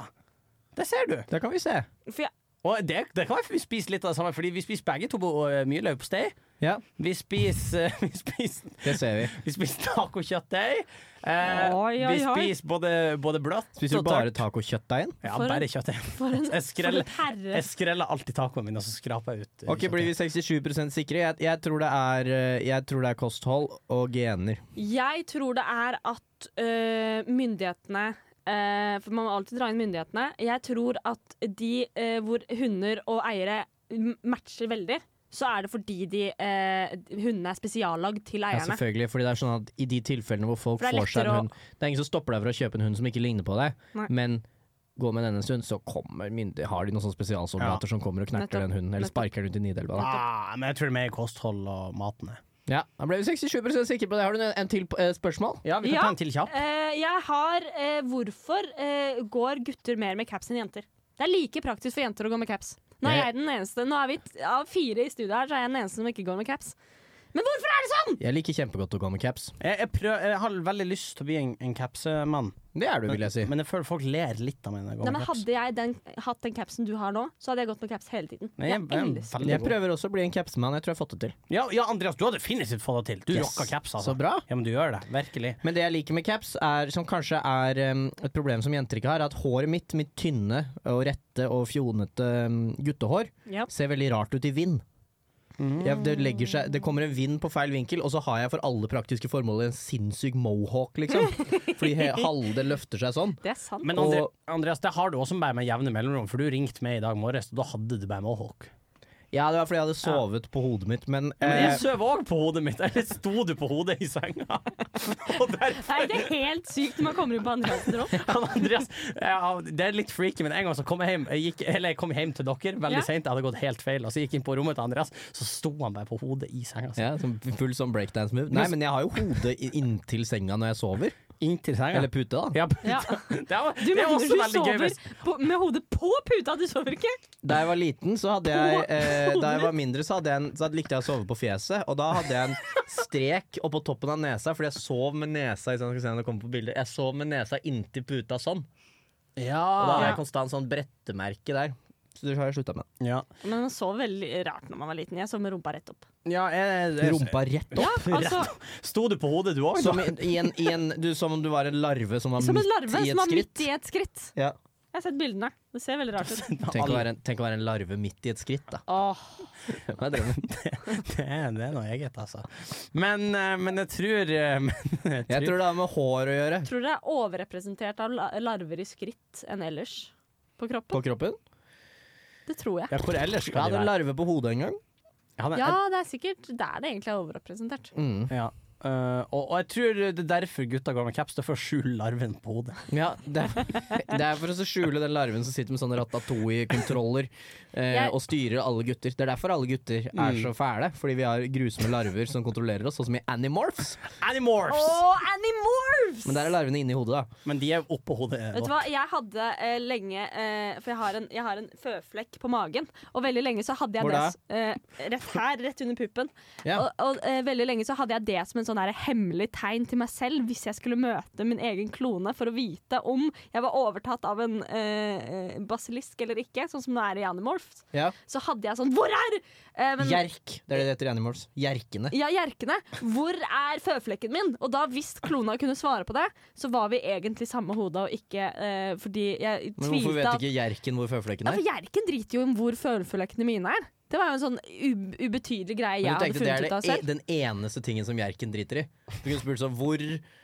S3: Det ser du.
S2: Det kan vi se.
S4: For jeg,
S3: Og det, det kan være vi spiser litt av det samme, Fordi vi spiser begge to bo- eh, mye leverpostei.
S2: Ja,
S3: Vi spiser, vi spiser,
S2: det ser vi.
S3: vi spiser tacokjøttdeig. Eh,
S4: Oi, oi,
S3: vi
S4: oi.
S3: spiser både, både bløtt
S2: Spiser
S3: og
S2: du bare tacokjøttdeigen?
S3: Ja,
S4: For en-
S3: bare kjøttdeig.
S4: for, en,
S3: Jeg
S4: for
S3: skreller,
S4: et herre.
S3: jeg skreller alltid tacoen min, og så skraper jeg ut. eh,
S2: Ok, blir vi 67 sikre? Jeg, jeg, tror det er, eh, jeg tror det er kosthold og gener.
S4: Jeg tror det er at øh, myndighetene øh, For man må alltid dra inn myndighetene. Jeg tror at de øh, hvor hunder og eiere m- matcher veldig, så er det fordi de øh, hundene er spesiallagd til
S2: Ja,
S4: eierne.
S2: selvfølgelig, fordi det er sånn at i de tilfellene hvor folk
S4: For det er
S2: får seg
S4: lettere å-
S2: en hund Det er ingen som stopper deg fra å kjøpe en hund som ikke ligner på deg,
S4: Nei.
S2: men gå med den en stund, så kommer myndig, har de noen sånne spesialsoldater som kommer og
S4: Nettopp.
S2: knerter den hunden, eller
S4: Nettopp.
S2: sparker den ut i Nidelva. da.
S3: Ah, men jeg tror det er mer kosthold og maten. jeg.
S2: Ja, da ble vi 67 sikre på det. Har du en, en til eh, spørsmål?
S3: Ja, vi kan
S4: Ja.
S3: ta en til kjapp.
S4: Eh, jeg har eh, Hvorfor eh, går gutter mer med caps enn jenter? Det er like praktisk for jenter å gå med caps. Nå er
S2: Jeg-
S4: jeg den eneste Nå er vi t- av fire i studio her, så er jeg den eneste som ikke går med caps. Men hvorfor er det sånn?!
S2: Jeg liker kjempegodt å gå med caps.
S3: Jeg, jeg, prøv, jeg har veldig lyst til å bli en, en capsemann,
S2: Det er du, vil jeg si.
S3: men jeg føler folk ler litt av meg når jeg går
S4: Nei,
S3: med
S4: men
S3: caps.
S4: hadde jeg den, hatt den capsen du har nå, så hadde jeg gått med caps hele tiden.
S3: Nei,
S4: Jeg
S3: jeg- jeg-
S4: elsker
S3: veldig
S2: Jeg
S3: god.
S2: prøver også å bli en capsmann. Jeg tror jeg har fått det til.
S3: Ja, ja, Andreas, du har definitivt fått det til. Du
S2: Yes.
S3: rocker caps. Altså.
S2: Så bra.
S3: Ja, men du gjør det. Virkelig.
S2: Men det jeg liker med caps, er, som kanskje er um, et problem som jenter ikke har, er at håret mitt, mitt tynne og rette og fjonete um, guttehår,
S4: Ja.
S2: ser veldig rart ut i vind. Jeg, det, legger seg, det kommer en vind på feil vinkel, og så har jeg for alle praktiske formål en sinnssyk mohawk, liksom. Fordi he, halve løfter seg sånn.
S4: Det er sant.
S3: Men Andre, Andreas, det har du også bare med jevne mellomrom, for du ringte meg i dag morges, og da hadde du bare mohawk.
S2: Ja, det var fordi jeg hadde sovet på hodet mitt, men,
S3: Men
S2: eh,
S3: jeg søv òg på hodet mitt. Eller sto du på hodet i senga? Og derfor
S4: Nei, det er helt sykt når man kommer inn på andre klassen rom.
S3: han Andreas ja, Det er litt freaky, men en gang så kom jeg hjem, jeg gikk, eller jeg kom hjem til dere veldig
S4: Ja.
S3: sent. Jeg hadde gått helt feil. Og så gikk jeg inn på rommet til Andreas, så sto han bare på hodet i senga.
S2: ja, som full sånn breakdance-move. Nei, men jeg har jo hodet i- inntil senga når jeg sover.
S3: Inntil senga.
S2: Eller pute, da.
S3: ja,
S4: Ja.
S3: Det var,
S4: Du
S3: det er
S4: mener
S3: også
S4: du
S3: veldig gøy.
S4: sover
S3: hvis-
S4: på, med hodet på puta, du sover ikke?
S2: Da jeg var liten, så hadde jeg eh, Da jeg var mindre, så, hadde jeg en, så hadde- likte jeg å sove på fjeset. Og da hadde jeg en strek oppå toppen av nesa, fordi jeg sov med nesa i sånn- skal vi se om det kommer på bildet. Jeg sov med nesa inntil puta sånn. Og da
S3: Ja.
S2: hadde jeg konstant sånn brettemerke der. Så det har jeg slutta med.
S3: Ja.
S4: Men man sov veldig rart når man var liten. Jeg sov med rumpa rett opp.
S3: Ja, jeg, jeg,
S2: Rumpa rett opp.
S4: Ja, altså,
S3: Sto du på hodet, du òg?
S2: Som, i, i en, i en, du, som om du var en larve som var
S4: som en
S2: midt
S4: larve
S2: i
S4: som
S2: et
S4: var
S2: skritt.
S4: midt i et skritt.
S2: Ja.
S4: Jeg har sett bildene. Det ser veldig rart ut.
S2: Tenk,
S3: Altså-
S2: å være en, tenk å være en larve midt i et skritt, da.
S4: Åh,
S2: Det er drømmen.
S3: Det er, det er noe eget, altså. Men, eh, men jeg tror eh, men jeg
S2: Jeg
S3: tror-
S2: tror det har med hår å gjøre.
S4: tror dere det er overrepresentert av la- larver i skritt enn ellers på kroppen?
S2: På kroppen?
S4: Det tror jeg.
S3: ja, Hvor ellers
S2: Jeg
S3: skal de
S2: hadde en
S3: være?
S2: larve på hodet en gang.
S3: Ja, det-
S4: Ja, det er sikkert der det egentlig er overrepresentert.
S2: Mm.
S3: ja. Eh, og, og jeg tror det er derfor gutta går med caps. Det er for å skjule larven på hodet.
S2: Ja, det er, det er for å skjule den larven som sitter med sånne ratatouille-kontroller eh,
S4: Jeg- Mm.
S2: og styrer alle gutter. Det er derfor alle gutter er så fæle, fordi vi har grusomme larver som kontrollerer oss, sånn som i Animorphs.
S3: Animorphs!
S4: Åh, Animorphs!
S2: Men der er larvene inni hodet, da.
S3: Men de er oppå hodet.
S4: Vet du
S3: da.
S4: hva, jeg hadde eh, lenge eh, For jeg har, en, jeg har en føflekk på magen. Og veldig lenge så hadde
S2: Hvor
S4: jeg det
S2: da?
S4: s- eh, rett her, rett under puppen.
S2: Ja.
S4: Og, og eh, veldig lenge så hadde jeg det som en sånn her hemmelig tegn til meg selv hvis jeg skulle møte min egen klone for å vite om jeg var overtatt av en eh, basilisk eller ikke, sånn som det er i Animorphs.
S2: Ja.
S4: Så hadde jeg sånn Hvor er eh, men-
S2: Jerk. Det er det det heter i Animorphs. Jerkene.
S4: ja, jerkene. Hvor er føflekken min? Og da, hvis klona kunne svare på det, så var vi egentlig samme hode og ikke eh, Fordi jeg
S2: Men hvorfor
S4: tvilte
S2: vet
S4: at
S2: ikke jerken hvor føflekken
S4: ja,
S2: er?
S4: For jerken driter jo om hvor føflekkene mine er. Det var jo en sånn u ubetydelig greie
S2: Men
S4: jeg
S2: du
S4: hadde
S2: tenkte det
S4: funnet
S2: er
S4: ut av
S2: det, e-
S4: selv.
S2: den eneste tingen som jerken driter i. Du kunne spurt sånn hvor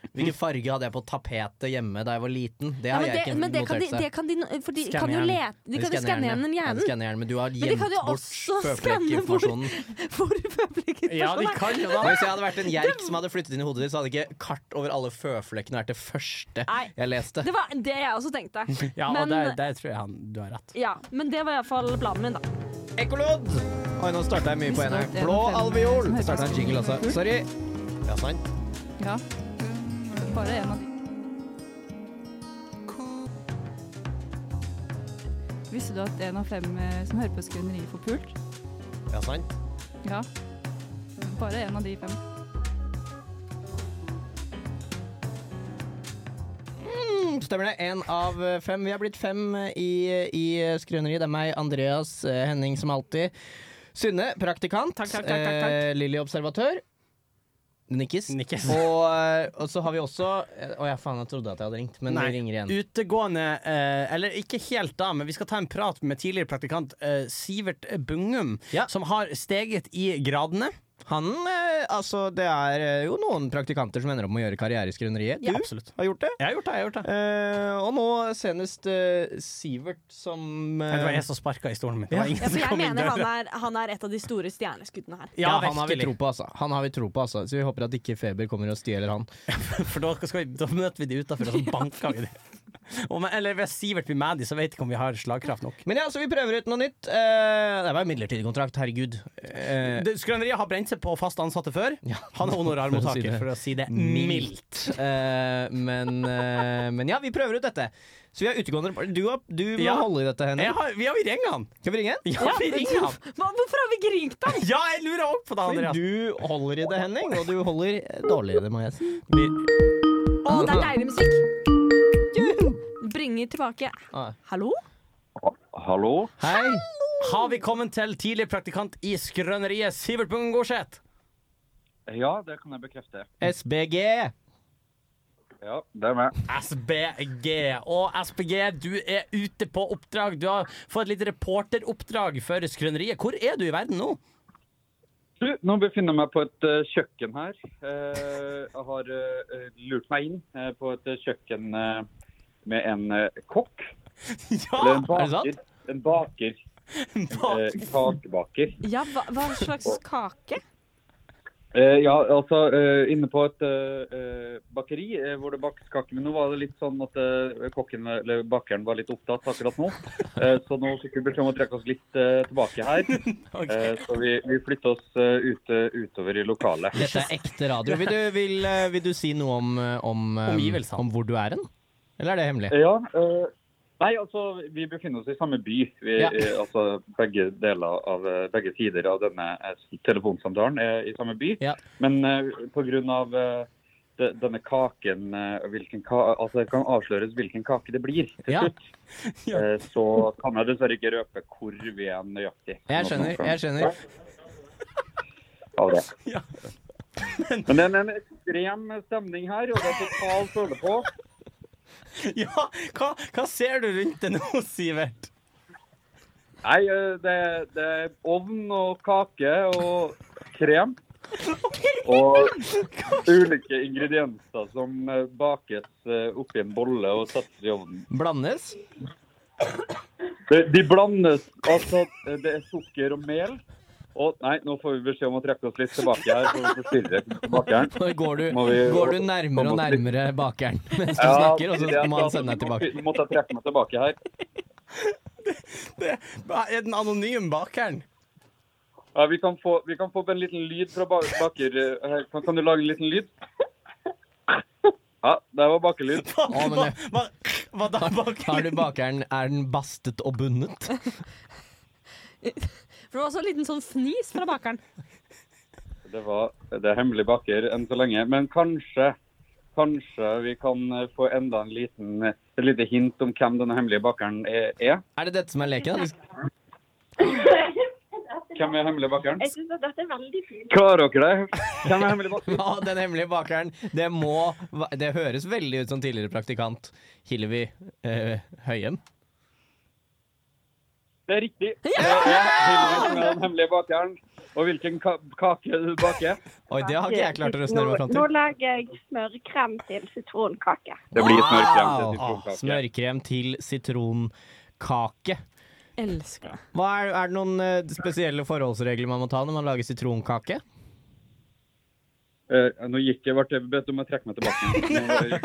S2: Hvilken farge hadde jeg på tapetet hjemme da jeg var liten? Det
S4: Ja,
S2: har
S4: men det,
S2: jerken
S4: men det kan de,
S2: notert seg.
S4: det kan de, for de
S3: Skanne
S4: kan jo
S3: hjernen.
S4: lete De kan jo skanne igjen
S2: Ja,
S4: den
S2: de
S4: hjernen.
S2: skanner hjernen, men du har
S4: de
S2: gjemt
S4: kan jo
S2: bort
S4: også skanne
S2: føflekkinformasjonen.
S4: Hvor føflekken
S3: Ja, de
S4: er.
S3: kan jo
S2: Og
S3: da.
S2: Hvis jeg hadde vært en jerk som hadde flyttet inn i hodet ditt, så hadde ikke kart over alle føflekkene vært det første
S4: Nei.
S2: jeg leste.
S4: Det var det jeg også tenkte.
S3: Ja, og
S4: men,
S3: der, der tror jeg han, du har rett.
S4: ja, men det var iallfall planen min, da.
S2: Ekkolodd! Oi, nå starta jeg mye på en her. Blå alveol. Det startet en jingle også. Sorry. Ja, sant.
S5: Ja. Bare en av de. Visste du at en av fem eh, som hører på Skrøneriet, får pult?
S2: Ja, sant.
S5: Ja. Bare en av de fem.
S2: Mm, Stemmer det. Én av eh, fem. Vi er blitt fem eh, i, i Skrøneriet. Det er meg, Andreas, eh, Henning som alltid. Synne, praktikant.
S4: Takk, takk, takk, takk, takk.
S2: Eh, Lilly, observatør. Det Nikkes.
S3: Nikkes.
S2: Og, eh, og så har vi også eh, Å ja, faen, jeg trodde at jeg hadde ringt, men vi ringer igjen.
S3: Utegående eh, Eller ikke helt da, men vi skal ta en prat med tidligere praktikant eh, Sivert Bungum,
S2: Ja.
S3: som har steget i gradene.
S2: Han, eh, altså Det er eh, jo noen praktikanter som ender opp med å gjøre karriere i skrøneriet. Du
S3: absolutt.
S2: har gjort det.
S3: Jeg har gjort det. jeg har gjort det
S2: Eh, og nå senest eh, Sivert som eh,
S3: Det var jeg som sparka i stolen min. Det var
S4: Ja,
S3: ingen
S4: for
S3: som
S4: jeg
S3: kom inn
S4: mener han
S3: døra.
S4: er, han er et av de store stjerneskuddene her.
S2: ja, han har vi
S3: virkelig.
S2: tro på, altså. Han har vi tro på, altså. Så vi håper at ikke Feber kommer og stjeler han.
S3: For da, skal vi, da møter vi de utafor, og så banker vi de. Om, eller hvis Sivert blir mad, så vet jeg ikke om vi har slagkraft nok.
S2: Men ja, så vi prøver ut noe nytt. Eh, det var en midlertidig kontrakt, herregud. Eh,
S3: Det- Skrøneriet har brent seg på fast ansatte før.
S2: Ja.
S3: Han er honorarmottaker,
S2: For
S3: for å si det mildt.
S2: mildt. Eh, men, eh, men ja, vi prøver ut dette. Så vi har utegående Du, har- du må
S3: Ja.
S2: holde i dette,
S3: Jeg
S2: Henning.
S3: har, vi har jo ringt han!
S2: Skal vi ringe?
S3: Ja, vi ringer han!
S4: Hva, hvorfor har vi ikke ringt ham?
S3: Ja, jeg lurer òg på det,
S2: Fordi
S3: Andreas.
S2: du holder i det, Henning, og du holder eh, dårlig i det, må jeg si.
S3: Vi-
S4: Å, det er deilig musikk. Bringer tilbake
S2: Ah.
S4: Hallo?
S6: Hallo?
S2: Hei.
S3: Har vi kommet til tidlig praktikant i Skrøneriet, Sivert Bungen Gårdseth?
S6: Ja, det kan jeg bekrefte.
S2: SBG.
S6: Ja, det er meg.
S3: SBG. Og SBG, du er ute på oppdrag. Du har fått et lite reporteroppdrag for Skrøneriet. Hvor er du i verden nå?
S6: Du, nå befinner jeg meg på et eh, kjøkken her. Eh, jeg har eh, lurt meg inn eh, på et eh, kjøkken eh, med en eh, kokk. Eller
S3: Ja!
S2: Ah,
S6: en
S2: er det
S6: baker.
S2: sant?
S6: En baker.
S3: bak-
S6: Eh, kakebaker.
S4: Ja, hva, hva slags kake?
S6: Eh, ja, altså eh, inne på et eh, eh, bakeri eh, hvor det bakes kake. Men nå var det litt sånn at eh, kokken, eller bakeren var litt opptatt akkurat nå. Eh, så nå fikk vi beskjed om å trekke oss litt eh, tilbake her. Eh, så vi, vi flytter oss eh, ute, utover i lokalet.
S2: Dette er ekte radio. Vil du, vil, eh, vil du si noe om, eh, om, eh,
S3: Omgivelsene.
S2: om hvor du er hen? Eller er det hemmelig?
S6: Ja. eh, nei, altså, vi befinner oss i samme by. Vi,
S2: Ja.
S6: eh, altså, begge, deler av, eh, begge sider av denne eh, telefonsamtalen er i samme by.
S2: Ja.
S6: Men eh, på grunn av eh, de- denne kaken eh, hvilken ka altså Det kan avsløres hvilken kake det blir til
S2: Ja.
S6: slutt. Eh, så kan jeg dessverre ikke røpe hvor vi er nøyaktig.
S2: Jeg skjønner. jeg skjønner
S6: Ja, det.
S3: Ja.
S6: Men det er en ekstrem stemning her, og det er totalt følelse på.
S3: ja. Hva, hva ser du rundt deg nå, Sivert?
S6: Nei, eh, det, det er ovn og kake og krem. Og ulike ingredienser som eh, bakes eh, oppi en bolle og settes i ovnen.
S2: Blandes?
S6: De, de blandes. Altså, eh, det er sukker og mel. Og nei, nå får vi beskjed om å trekke oss litt tilbake her, for vi forstyrrer bakeren.
S2: Nå Går du,
S6: Må vi-
S2: går du nærmere og nærmere bakeren mens du snakker, og så må han sende deg tilbake?
S6: Nå måtte jeg trekke meg tilbake her.
S3: Det er den anonyme bakeren.
S6: Ja, vi, kan få, vi kan få opp en liten lyd fra ba- baker. eh, her. Kan, kan du lage en liten lyd? Ja, det var bakelyd.
S3: Hva,
S2: men
S3: hva,
S2: det-
S3: hva, hva da, bakeren?
S2: Har du bakeren, er den bastet og bundet?
S4: For det var også en liten sånn fnis fra bakeren.
S6: Det var det er hemmelig baker enn så lenge. Men kanskje, kanskje vi kan eh, få enda en liten, et lite hint om hvem denne hemmelige bakeren er. er.
S2: Er det dette som er leken? da?
S6: Hvem er hemmelig bakeren?
S7: Jeg syns at dette er veldig fint.
S6: Klarer dere det? Hvem er hemmelig bakeren?
S2: Ja, den hemmelige bakeren. Det må va- Det høres veldig ut som tidligere praktikant Hillevi eh, Høyem.
S6: Det er riktig. Det er Hilde som er den hemmelige bakeren. Og hvilken ka kake du baker.
S2: Oi, det har ikke jeg klart å resonnere meg fram
S7: Nå
S2: til.
S7: legger jeg smørkrem til sitronkake.
S6: Det blir smørkrem til
S2: Ah,
S6: sitronkake.
S2: smørkrem til sitronkake.
S4: Elsker det.
S2: Hva er, er det noen eh, spesielle forholdsregler man må ta når man lager sitronkake?
S6: Eh, nå gikk jeg, ble jeg bedt om å trekke meg tilbake.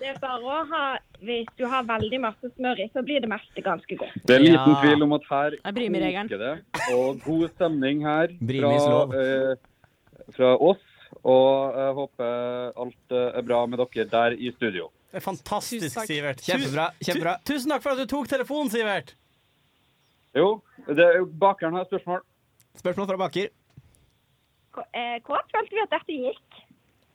S7: Det er bare å ha Hvis du har veldig masse smør i, så blir det meste ganske godt.
S6: Det er liten
S2: Ja.
S6: tvil om at her
S4: er Brimi-regelen.
S6: koker det. Og god stemning her
S2: Brimis
S6: fra,
S2: lov.
S6: eh, fra oss. Og jeg håper alt eh, er bra med dere der i studio.
S3: Det er fantastisk,
S4: Tusen takk.
S3: Sivert. Tu-
S2: Kjempebra. kjempebra.
S3: Tu, tusen takk for at du tok telefonen, Sivert.
S6: Jo, det er jo bakeren har et spørsmål.
S2: Spørsmål fra baker.
S7: K- eh, Hvor følte vi at dette gikk?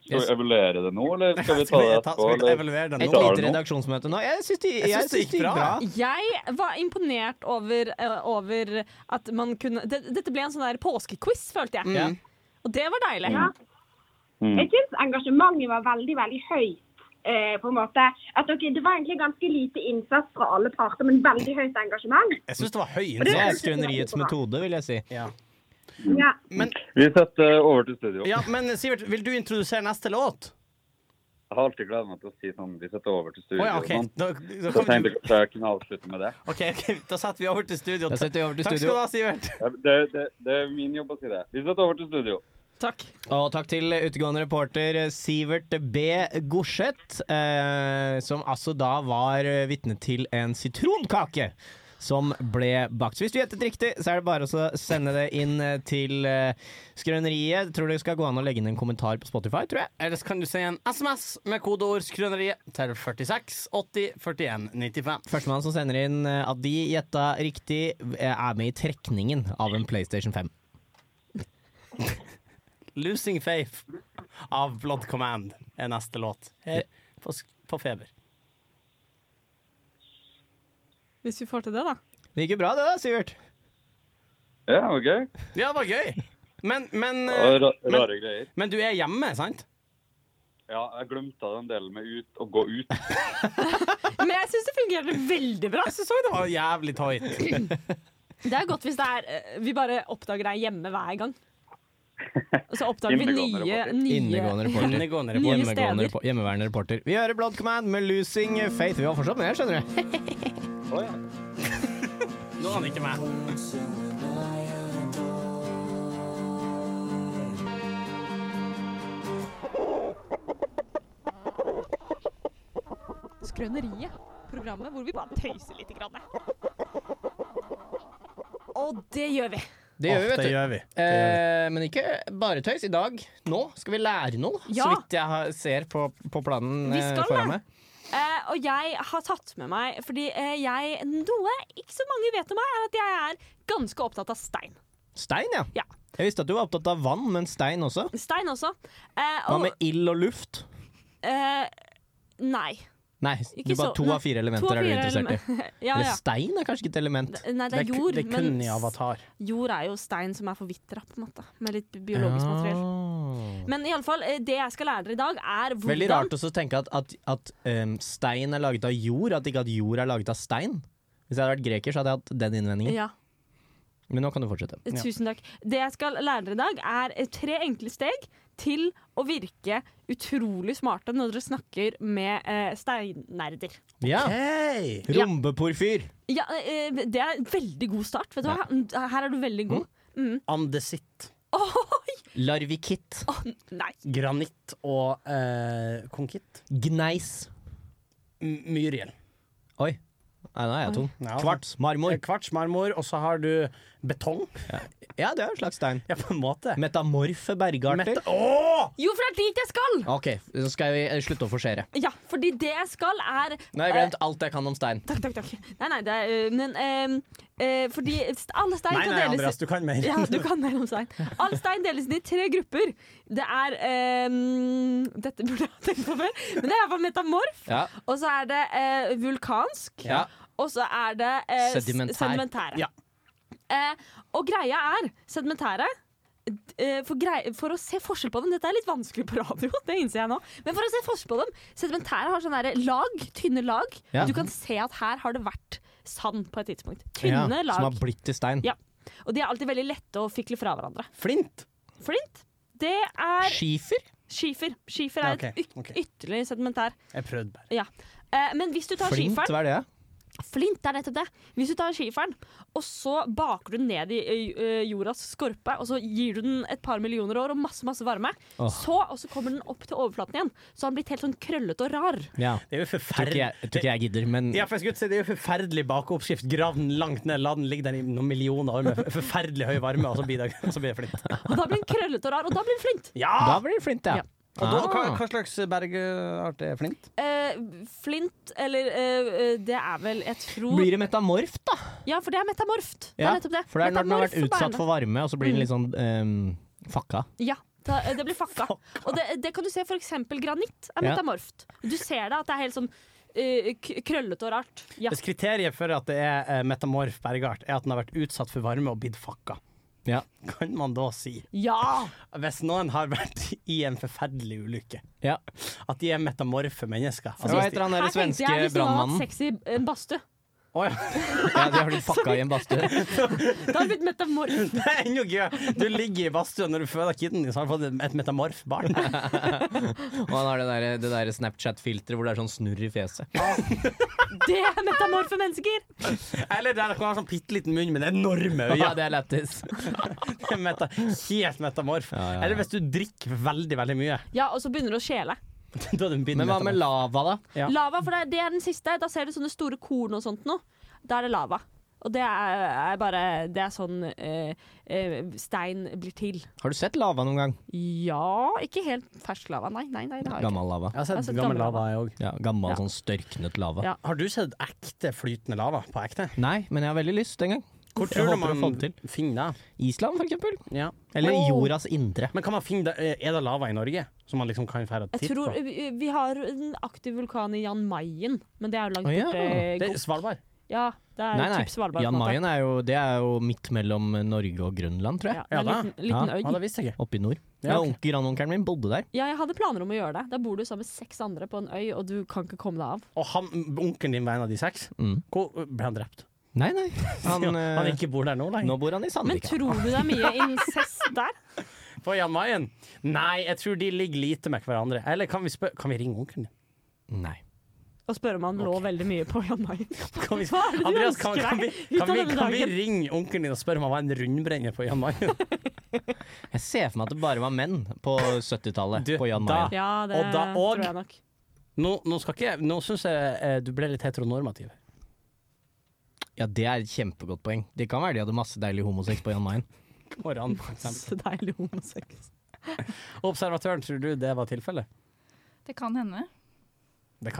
S6: Skal vi evaluere det nå, eller skal vi ta
S3: Skal
S6: det
S3: vi, ta,
S6: etterpå?
S3: skal vi
S6: eller?
S3: evaluere den
S2: Et
S6: Tar
S3: nå?
S6: du
S2: lite
S6: noe?
S2: redaksjonsmøte nå. Jeg syns det, jeg
S3: syns
S2: syns det gikk bra.
S4: Jeg var imponert over, eh, over at man kunne det, Dette ble en sånn der påskequiz, følte jeg.
S2: Mm.
S4: Og det var deilig.
S7: Ja. Mm. Jeg syns engasjementet var veldig, veldig høyt. Eh, på en måte. At, ok, det var egentlig ganske lite innsats fra alle parter, men veldig høyt engasjement.
S3: Jeg syns det var høy
S2: Det er
S3: innsats.
S2: skrøneriets metode, vil jeg si.
S3: Ja.
S7: Ja.
S6: Vi setter over til studio.
S3: ja, men Sivert, vil du introdusere neste låt?
S6: Jeg har alltid gledet meg til å si sånn vi setter over til
S3: Å
S6: studio.
S3: ja, OK.
S6: og sånn.
S3: Da, da,
S6: Så
S3: kan
S6: tenkte
S3: du,
S6: jeg kanskje jeg kunne avslutte med det.
S3: OK, ok, da setter vi over til studio.
S2: Da setter vi over til
S3: Takk
S2: studio.
S3: skal du ha, Sivert.
S6: Det, det, det er min jobb å si det. Vi setter over til studio.
S4: Takk.
S2: Og takk til utegående reporter Sivert B. Gorseth, eh, som altså da var vitne til en sitronkake som ble bakt. Hvis du gjettet riktig, så er det bare å så sende det inn eh, til eh, Skrøneriet. Tror det skal gå an å legge inn en kommentar på Spotify, tror jeg.
S3: Ellers kan du sende en SMS med kodeord 'Skrøneriet' til 46 80 41 95.
S2: Førstemann som sender inn eh, at de gjetta riktig, eh, er med i trekningen av en PlayStation 5.
S3: 'Losing Faith' av Blood Command er neste låt her på, sk- på Feber.
S4: Hvis vi får til det, da.
S2: Det gikk jo bra, det da, Sivert.
S6: Ja, det var gøy.
S3: Ja, det var gøy! Men, men,
S6: Og
S3: eh,
S6: ra
S3: men,
S6: rare greier.
S3: men du er hjemme, sant?
S6: Ja, jeg glemte den delen med ut og gå ut.
S4: Men jeg syns det fungerte veldig bra.
S3: Jeg syns òg det var jævlig tight.
S4: Det er godt hvis det er eh, Vi bare oppdager deg hjemme hver gang. Og så oppdager vi
S6: Innegående
S4: nye,
S6: reporter.
S4: nye
S2: Innegående reporter.
S3: Innegående
S4: Nye
S3: report.
S4: steder.
S2: Hjemmegående, repo- hjemmeværende reporter. Vi hører Blood Command med 'Losing Faith'. Vi var fortsatt med, skjønner du.
S6: Å, ja.
S3: Nå er han ikke med.
S4: Skrøneriet. Programmet hvor vi bare tøyser litt. Og det gjør vi.
S2: Det gjør vi, vet du.
S3: gjør vi.
S2: Eh, men ikke bare tøys. I dag, nå, skal vi lære noe.
S4: Ja.
S2: Så vidt jeg har- ser på, på planen
S4: Vi
S2: eh,
S4: skal
S2: foran
S4: det.
S2: meg.
S4: Eh, og jeg har tatt med meg Fordi eh, jeg Noe ikke så mange vet om meg, er at jeg er ganske opptatt av stein.
S2: Stein, ja.
S4: Ja.
S2: Jeg visste at du var opptatt av vann, men stein også.
S4: Stein også. Eh,
S2: Hva
S4: og
S2: med ild og luft?
S4: eh, Nei.
S2: Nei,
S4: Ikke
S2: du bare
S4: så-
S2: to
S4: nei,
S2: av fire
S4: to
S2: elementer
S4: av
S2: er du
S4: fire
S2: interessert i.
S4: Ja,
S2: Eller
S4: ja.
S2: stein er kanskje ikke et element.
S4: Det- Nei, det er
S3: ku-
S4: jord.
S3: det er kun
S4: men
S3: i Avatar.
S4: jord er jo stein som er forvitra, på en måte. Med litt bi- biologisk materiell.
S2: Ah.
S4: Men i alle fall, eh, det jeg skal lære dere i dag, er hvordan
S2: Veldig rart også å tenke at, at, at em, stein er laget av jord, at ikke at jord er laget av stein. Hvis jeg hadde vært greker, så hadde jeg hatt den innvendingen.
S4: Ja,
S2: Men nå kan du fortsette.
S4: tusen takk. Det jeg skal lære dere i dag, er eh, tre enkle steg til å virke utrolig smarte når dere snakker med eh, steinnerder.
S2: Ja.
S3: Hey.
S2: Rombeporfyr.
S4: Ja, eh, det er en veldig god start. Vet du hva? Mm, Her er du veldig god.
S3: Mm. Andesitt,
S2: Larvikitt.
S4: Nei.
S3: granitt og eh, konkitt.
S2: Gneis.
S3: M Myriel.
S2: Oi. Nei, nå er jeg tom.
S3: Ja.
S2: Kvarts. Marmor.
S3: Eh, Kvarts marmor, og så har du betong.
S2: Ja, det er en slags stein.
S3: Ja, på en måte.
S2: Metamorfe bergarter.
S3: Meta- Åh!
S4: Jo, for det er dit jeg skal!
S2: OK, så skal vi eh, slutte å forsere.
S4: Ja, fordi det jeg skal, er
S2: Nå har jeg glemt alt jeg kan om stein.
S4: Takk, takk, takk. Nei, nei, det er øh, Men øh, øh, fordi st- alle stein
S3: Nei,
S4: kan
S3: nei,
S4: deles
S3: Andreas, du kan mer.
S4: Ja, du kan mer om stein. Alle stein deles inn i tre grupper. Det er øh, Dette burde jeg ha tenkt på før, men det er i hvert fall metamorf.
S2: Ja.
S4: Og så er det øh, vulkansk.
S2: Ja.
S4: Og så er det øh, s-
S2: Sedimentær.
S4: sedimentære.
S3: Ja.
S4: Eh, og greia er sedimentære d- eh, for, grei, for å se forskjell på dem Dette er litt vanskelig på radio, det innser jeg nå. Men for å se forskjell på dem Sedimentære har sånne der lag, tynne lag.
S2: Ja.
S4: Du kan se at her har det vært sand på et tidspunkt. Tynne
S2: Ja, Som
S4: lag.
S2: har blitt til stein.
S4: Ja. Og de er alltid veldig lette å fikle fra hverandre.
S3: Flint.
S4: Flint, det er
S2: Skifer?
S4: skifer. Skifer er
S3: Ja, ok,
S4: et yt-
S3: ok.
S4: ytterligere sedimentær.
S3: Jeg prøvde bare.
S4: Ja. Eh, men hvis du tar
S2: Flint,
S4: skiferen
S2: hva er det?
S4: Flint det er nettopp det. Hvis du tar skiferen, og så baker du den ned i ø, ø, jordas skorpe, og så gir du den et par millioner år og masse masse varme,
S2: Åh.
S4: så, og så kommer den opp til overflaten igjen. Så har den blitt helt sånn krøllete og rar.
S2: Ja.
S3: Det er jo
S2: Tror ikke
S3: forferdelig.
S2: jeg, tror ikke jeg gidder, men
S3: Ja, for jeg skulle si, det er jo forferdelig bakeoppskrift. Grav den langt ned, la den ligge der i noen millioner år med forferdelig høy varme, og så blir det, og så blir det flint.
S4: Og da blir den krøllete og rar, og da blir den flint.
S2: da
S3: Ja!
S2: blir det flint, ja.
S4: Ja.
S3: Og da, hva,
S2: Ah.
S3: hva slags bergart er flint?
S4: Eh, flint, eller eh, ø, ø, Det er vel Jeg tror
S2: Blir det metamorft, da?
S4: Ja, for det er metamorft. Det
S2: Ja,
S4: er nettopp det.
S2: For det er når den har vært
S4: Metamorf på
S2: utsatt
S4: bærene.
S2: for varme, og så
S4: Mm.
S2: blir den litt sånn ehm, fakka.
S4: Ja, da, eh, det blir fakka. Og det, det kan du se for eksempel granitt er
S2: Ja.
S4: metamorft. Du ser det at det er helt sånn ø, k- krøllete og rart. Ja.
S3: Hvis kriteriet for at det er eh, metamorf bergart, er at den har vært utsatt for varme og blitt fakka,
S2: Ja.
S3: kan man da si
S4: ja!
S3: Hvis noen har vært i en forferdelig ulykke,
S2: Ja.
S3: at de er metamorfe mennesker
S2: Hva
S3: altså, hvis
S2: heter han
S4: Her
S2: der
S4: tenkte
S2: svenske
S4: jeg hvis noen hadde
S2: brannmannen?
S4: hatt sex i en badstue.
S2: Å ja. ja. De har blitt pakka i en badstue.
S4: Det har blitt metamorf.
S3: Det er enda gøy! Du ligger i badstuen når du føder kiden din, så har du fått et metamorf barn.
S2: Og han har det der, det der Snapchat-filteret hvor det er sånn snurr i fjeset.
S4: Det er metamorfe mennesker!
S3: Eller der kan du ha sånn bitte liten munn med det enorme
S2: Ja,
S3: øyet.
S2: det er lættis.
S3: Det er meta, helt metamorf.
S2: Ja, ja, ja.
S3: Eller hvis du drikker veldig, veldig mye.
S4: Ja, og så begynner det å skjele.
S3: Da er du en bind
S2: Men hva med
S3: metamorf.
S2: lava, da?
S3: Ja.
S4: Lava, for det er, det er den siste. Da ser du sånne store korn og sånt nå. Da er det lava. Og det er, er bare Det er sånn eh, eh, stein blir til.
S2: Har du sett lava noen gang?
S4: Ja Ikke helt fersk lava, nei. nei, nei det har jeg ikke.
S2: Gammel lava.
S3: Jeg har sett
S4: Jeg har sett
S3: gammel
S4: gammel
S3: lava, jeg òg.
S2: Ja, gammel
S4: Ja.
S2: sånn størknet lava.
S4: Ja.
S3: Har du sett ekte flytende lava på ekte?
S2: Nei, men jeg har veldig lyst en gang.
S3: Hvor
S2: Jeg
S3: tror du
S2: håper å få
S3: man
S2: det til.
S3: finner det?
S2: Island, for eksempel.
S3: Ja.
S2: Eller
S4: Åh.
S2: jordas indre.
S3: Men kan man finne det? eh, Er det lava i Norge som man liksom kan dra og
S4: Jeg
S3: titte
S4: tror
S3: på?
S4: vi, vi har en aktiv vulkan i Jan Mayen, men det er jo langt
S2: Å, ja.
S4: borte. eh,
S3: Det er Svalbard.
S4: Ja, det er
S2: Nei, nei.
S4: typ Svalbard. på en
S2: Jan
S4: måte.
S2: Mayen er jo, det er jo midt mellom Norge og Grønland, tror jeg.
S4: Ja, det er en
S3: Ja, da.
S4: liten, liten
S3: Ja,
S4: øy.
S3: det visste jeg ikke.
S2: Oppe i nord.
S3: Ja,
S2: Ja,
S3: ok.
S2: onkel, Grandonkelen min bodde der.
S4: Ja, jeg hadde planer om å gjøre det. Da bor du sammen med seks andre på en øy, og du kan ikke komme deg av.
S3: Og han, onkelen din var en av de seks?
S2: Mm.
S3: Hvor ble han drept?
S2: Nei, nei. Han,
S3: Han,
S2: eh,
S3: han ikke bor der nå
S2: nå
S3: lenger?
S2: bor han i
S4: Men
S2: Sandvika.
S4: tror du det er mye incest der?
S3: På Jan Mayen? Nei, jeg tror de ligger lite med hverandre. Eller kan vi, spør, kan vi ringe onkelen din?
S2: Nei.
S4: Og spør om han lå veldig mye på Jan Mayen.
S3: Kan vi,
S4: Hva er det du
S3: Andreas, kan,
S4: ønsker
S3: kan, vi,
S4: deg ut
S3: kan,
S4: av
S3: vi,
S4: denne
S3: kan vi
S4: dagen?
S3: ringe onkelen din og spørre om han var en rundbrenner på Jan Mayen?
S2: Jeg ser for meg at det bare var menn på 70-tallet
S3: Du,
S2: på Jan
S3: da-
S2: Mayen.
S4: Ja, det
S3: Og da- og-
S4: tror jeg nok.
S3: Nå, nå, skal ikke, jeg- nå syns jeg eh, du ble litt heteronormativ.
S2: Ja, det er et kjempegodt poeng. Det kan være de hadde masse deilig homosex på Jan Mayen.
S3: Og ran, for eksempel.
S4: Så deilig homosex.
S3: Observatøren, tror du det var tilfellet?
S5: Det kan
S3: Det kan
S5: hende.
S3: hende.
S2: Det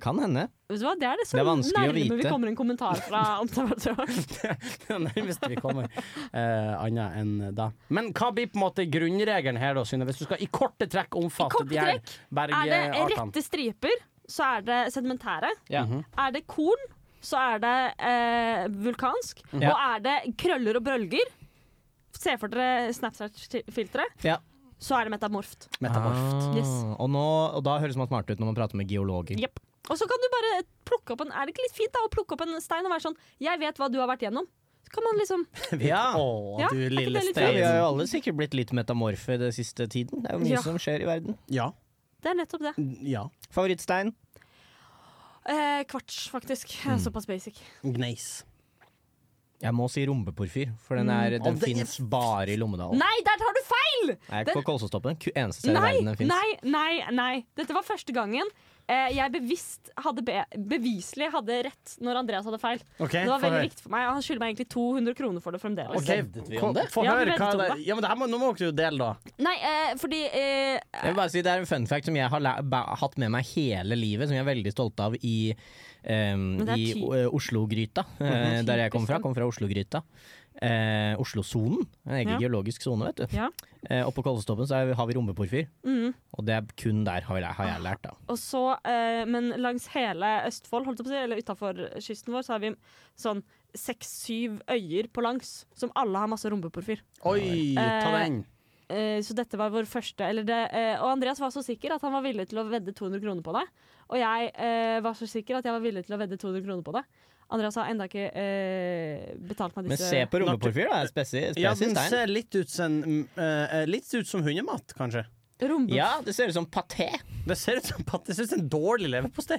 S2: kan hende.
S4: Vet du hva, det er det så
S2: Det er vanskelig å
S4: nærme vi
S2: vite.
S4: kommer en kommentar fra observatøren.
S3: Det er nærmest vi kommer eh, annet enn da. Men hva blir på en måte grunnregelen her, da, Synne? Hvis du skal i korte trekk omfatte
S4: korte
S3: de her
S4: trekk Er det
S3: bergartene?
S4: rette striper, så er det sedimentære.
S2: Ja.
S3: Mhm.
S4: Er det korn, så er det eh, vulkansk.
S2: Ja.
S4: Og er det krøller og bølger, se for dere Snapchat-filteret,
S2: Ja.
S4: så er det metamorft.
S3: Metamorft.
S2: Ah,
S4: Yes.
S2: og, nå, og da høres man smart ut når man prater med geologer.
S4: Jepp. Og så kan du bare plukke opp en Er det ikke litt fint da å plukke opp en stein og være sånn Jeg vet hva du har vært gjennom. Så kan man liksom
S3: Ah,
S2: Ja.
S3: Å,
S4: Ja,
S3: du
S4: er ikke
S3: lille
S4: det litt
S2: Ja, vi har
S3: stein.
S2: jo alle sikkert blitt litt metamorfe det siste tiden. Det er jo mye
S4: Ja.
S2: som skjer i verden.
S3: Ja.
S4: Det er nettopp det.
S3: ja.
S2: Favorittstein?
S4: Eh, kvarts, faktisk. Jeg er Såpass basic.
S3: Gneis.
S2: Jeg må si rombeporfyr, for den,
S4: Mm.
S2: er, den
S3: Å, det er-
S2: fins bare i Lommedalen.
S4: Nei, der tar du feil!
S2: Nei,
S4: den-
S2: på Kolsåstoppen. Ku- Eneste sted i
S4: Nei,
S2: verden den fins.
S4: nei, nei. nei Dette var første gangen eh, jeg bevisst hadde be beviselig hadde rett når Andreas hadde feil.
S3: Ok,
S4: Det var
S3: få
S4: veldig
S3: høre.
S4: viktig for meg, og han skylder meg egentlig 200 kroner for det fremdeles.
S3: Ok,
S2: vi om
S3: få-
S2: det?
S3: Få
S4: Ja, vi
S3: høre
S4: ventet
S3: hva
S4: om
S3: det
S4: det.
S3: Ja, men det her må, Nå må dere jo dele, da.
S4: Nei, eh, fordi eh,
S2: Jeg vil bare si Det er en fun fact som jeg har læ- ba- hatt med meg hele livet, som jeg er veldig stolt av i, um,
S4: Men det er
S2: i
S4: ty-
S2: O- eh, Oslo-gryta. eh, der jeg kommer fra.
S4: Typisk,
S2: Kommer fra Oslo-gryta. Eh, Oslo-sonen. En egen
S4: Ja.
S2: geologisk sone, vet du.
S4: Ja.
S2: Eh, og på Kolsåstoppen så er, har vi rombeporfyr,
S4: mm,
S2: og det er kun der har, vi, læ- har jeg lært, da.
S4: Og så, eh, men langs hele Østfold, holdt jeg på å si, eller utafor kysten vår, så har vi sånn seks-syv øyer på langs, som alle har masse rombeporfyr.
S3: Oi, ta
S4: Eh,
S3: den.
S4: Eh, så dette var vår første eller det, eh, Og Andreas var så sikker at han var villig til å vedde 200 kroner på det. Og jeg eh, var så sikker at jeg var villig til å vedde 200 kroner på det. Andreas har ennå ikke eh, betalt meg
S2: Men
S4: disse
S2: se på rombeporfyr, da. Spesiell
S3: Ja, den
S2: stein.
S3: ser litt ut som, mm, eh, litt ut som hundemat, kanskje.
S4: rombe-
S2: Ja, det ser ut som paté.
S3: Det ser ut som pat- det ser ut som en dårlig leverpostei.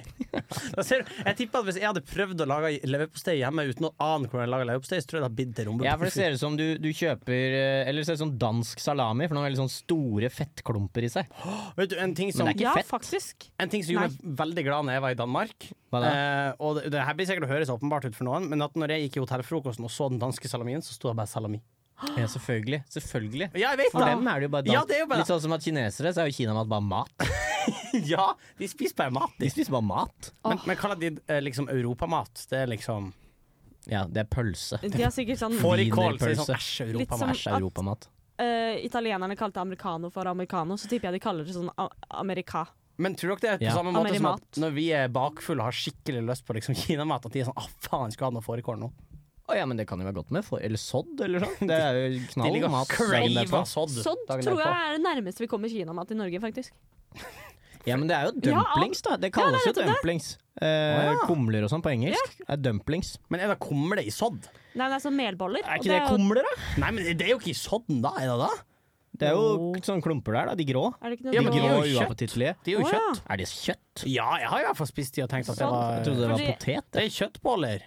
S3: Det ser- Jeg tipper at Hvis jeg hadde prøvd å lage leverpostei hjemme uten å ane hvordan jeg lager leverpostei, så tror jeg det hadde blitt til
S2: Ja, for det ser ut som du, du kjøper eh, Eller det ser ut som dansk salami, for den har veldig sånn store fettklumper i seg.
S3: Vet du, en ting som,
S2: Men det er
S4: ja,
S2: fett.
S4: faktisk.
S3: en ting som gjorde meg veldig glad når jeg var i Danmark
S2: Hva
S3: eh, Og det, det her blir sikkert å høres åpenbart ut for noen, men at når jeg gikk i hotellfrokosten og så den danske salamien, så sto det bare salami.
S2: Ja, selvfølgelig. Selvfølgelig.
S3: Ja, jeg vet
S2: For
S3: det!
S2: dem er det jo bare dans.
S3: Ja, det er jo bare-
S2: Litt sånn som at kinesere, så er jo Kinamat bare mat.
S3: Ja, de spiser bare mat.
S2: De spiser bare mat.
S3: Men, men kaller de eh, liksom europamat? Det er liksom
S2: Ja, det er pølse.
S4: De har sikkert sånn
S3: Fårikål, så er det
S2: Mm. Wienerpølse.
S3: sånn æsj,
S4: Litt som-
S3: europamat.
S2: Æsj,
S4: at-
S2: europamat.
S4: eh, Italienerne kalte americano for americano, så tipper jeg de kaller det sånn a- america.
S3: Men tror dere det er
S2: Ja.
S3: på samme måte som
S4: Amerimat.
S3: at når vi er bakfulle og har skikkelig lyst på liksom kinamat, at de er sånn 'Å, faen, skal ha noe fårikål nå'?
S2: Å ja, men det kan jo være godt med for, Eller sodd, eller sånn. Det er jo
S3: De
S2: knall
S3: ligger og
S2: mat. dagen
S3: craver
S2: derpå.
S3: sodd.
S4: Sånn
S3: dagen
S4: tror jeg
S3: derpå.
S4: er det nærmeste vi kommer Kinamat i Norge, faktisk.
S2: Ja, men det er jo
S4: Ja,
S2: dumplings, da. Det kalles
S4: Ja,
S2: jo
S4: det er nettopp det.
S2: dumplings. Eh,
S3: Å, ja.
S2: Kumler og sånn på engelsk. Er dumplings.
S3: Men er det kumle i sodd?
S4: Nei, men det er sånn melboller.
S3: Er
S4: og
S3: ikke det
S4: er jo-
S3: kumler, da? Nei, men det er jo ikke i sodden, da. Er det da?
S2: Det er jo
S3: Jo.
S2: sånne klumper der, da. De grå.
S4: Er det ikke noe
S3: Ja,
S2: De
S3: men
S4: sånn-
S3: de
S2: grå
S3: er jo kjøtt.
S2: uappetittelige.
S3: Det er jo
S4: Å, ja.
S3: kjøtt.
S2: Er det kjøtt?
S3: Ja, jeg har i hvert fall spist de og tenkt
S4: Sådd.
S3: at det
S2: Jeg trodde
S3: var
S2: det var
S4: Sånn. Fordi-
S2: potet.
S3: Det er kjøttboller.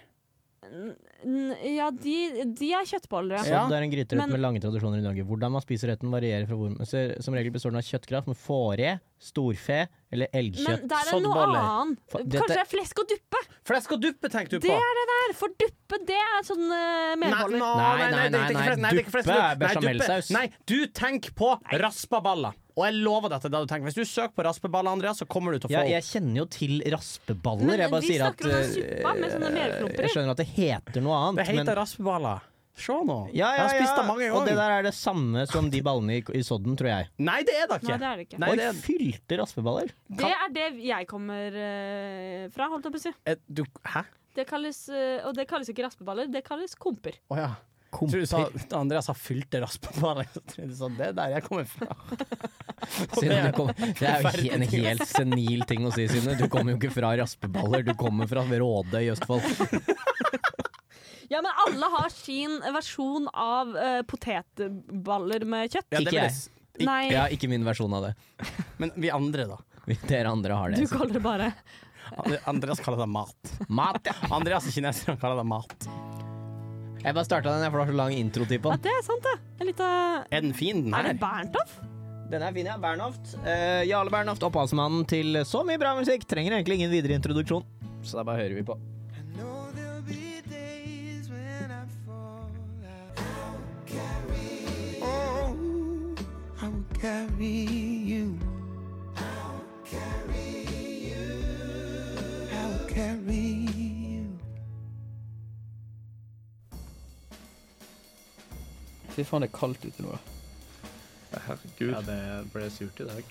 S4: N- Ja, de, de er kjøttboller, ja.
S3: Ja.
S2: Sodd er en gryterett
S4: Men-
S2: med lange tradisjoner i Norge. Hvordan man spiser retten varierer fra hvor man ser. Som regel består den av kjøttkraft med fåre, storfe eller elgkjøtt.
S4: Men der er det noe
S3: soddboller.
S4: annet.
S2: For- dette-
S4: Kanskje det er flesk og duppe?
S3: Flesk og duppe tenkte du
S4: Det
S3: på.
S4: er det der! For duppe, det er sånn eh, melboller.
S3: nå,
S2: Nei, nei,
S3: det er ikke
S2: nei,
S3: flesk-
S2: nei,
S3: det er ikke flesk-
S2: duppe er
S3: nei, duppe-
S2: bechamelsaus.
S3: Nei, du tenker på raspaballer. Og jeg lover deg at det er det du tenker. Hvis du søker på raspaballer, Andreas, så kommer du til å
S2: Ja,
S3: få
S2: jeg kjenner jo til raspeballer.
S4: Men
S2: jeg bare
S4: vi
S2: sier at
S4: snakker om den
S2: eh,
S4: suppa med sånne melklumper i.
S2: Jeg skjønner at det heter noe annet.
S3: Det heter
S2: men-
S3: raspaballer. Se nå.
S2: ja, ja,
S3: jeg har
S2: ja.
S3: spist det mange
S2: Og det
S3: ganger.
S2: der er det samme som de ballene i, i sodden, tror jeg.
S3: Nei, det er det ikke.
S4: Nei, det er det ikke.
S3: Nei,
S2: Oi,
S3: det er-
S2: fylte raspeballer.
S4: Det er det jeg kommer eh, fra, holdt jeg på å si.
S3: Eh, du, hæ?
S4: Det kalles, eh, og det kalles ikke raspeballer, det kalles komper.
S3: Å ja. Jeg tror du sa, Andreas har fylte raspeballer. Jeg trodde du sa det er der jeg kommer fra.
S2: Synne, du kom, det er jo he- en helt senil ting å si, Synne. Du kommer jo ikke fra raspeballer, du kommer fra Rådøy i Østfold.
S4: Ja, men alle har sin versjon av eh, potetballer med kjøtt.
S3: Ja, det
S2: Ikke
S3: vil
S2: jeg.
S3: s-
S4: Nei,
S2: Ja, ikke min versjon av det.
S3: Men vi andre, da.
S2: Dere andre har
S4: du
S2: det.
S4: kaller det bare
S3: Andreas kaller det mat.
S2: Mat, ja!
S3: Andreas er kineser, han kaller det mat.
S2: Jeg bare starta den, jeg, for det var så lang introtid på
S4: Ja,
S2: den.
S4: det er sant, det. En liten
S3: Er den fin, den
S4: Er det
S3: her?
S4: Berntoff?
S2: Den er fin, ja. Bernhoft. Eh, Jarle Bernhoft, opphavsmannen til så mye bra musikk, trenger egentlig ingen videre introduksjon. Så da bare hører vi på.
S8: Fy faen, det er kaldt ute nå, da.
S9: Ja, det ble surt i dag.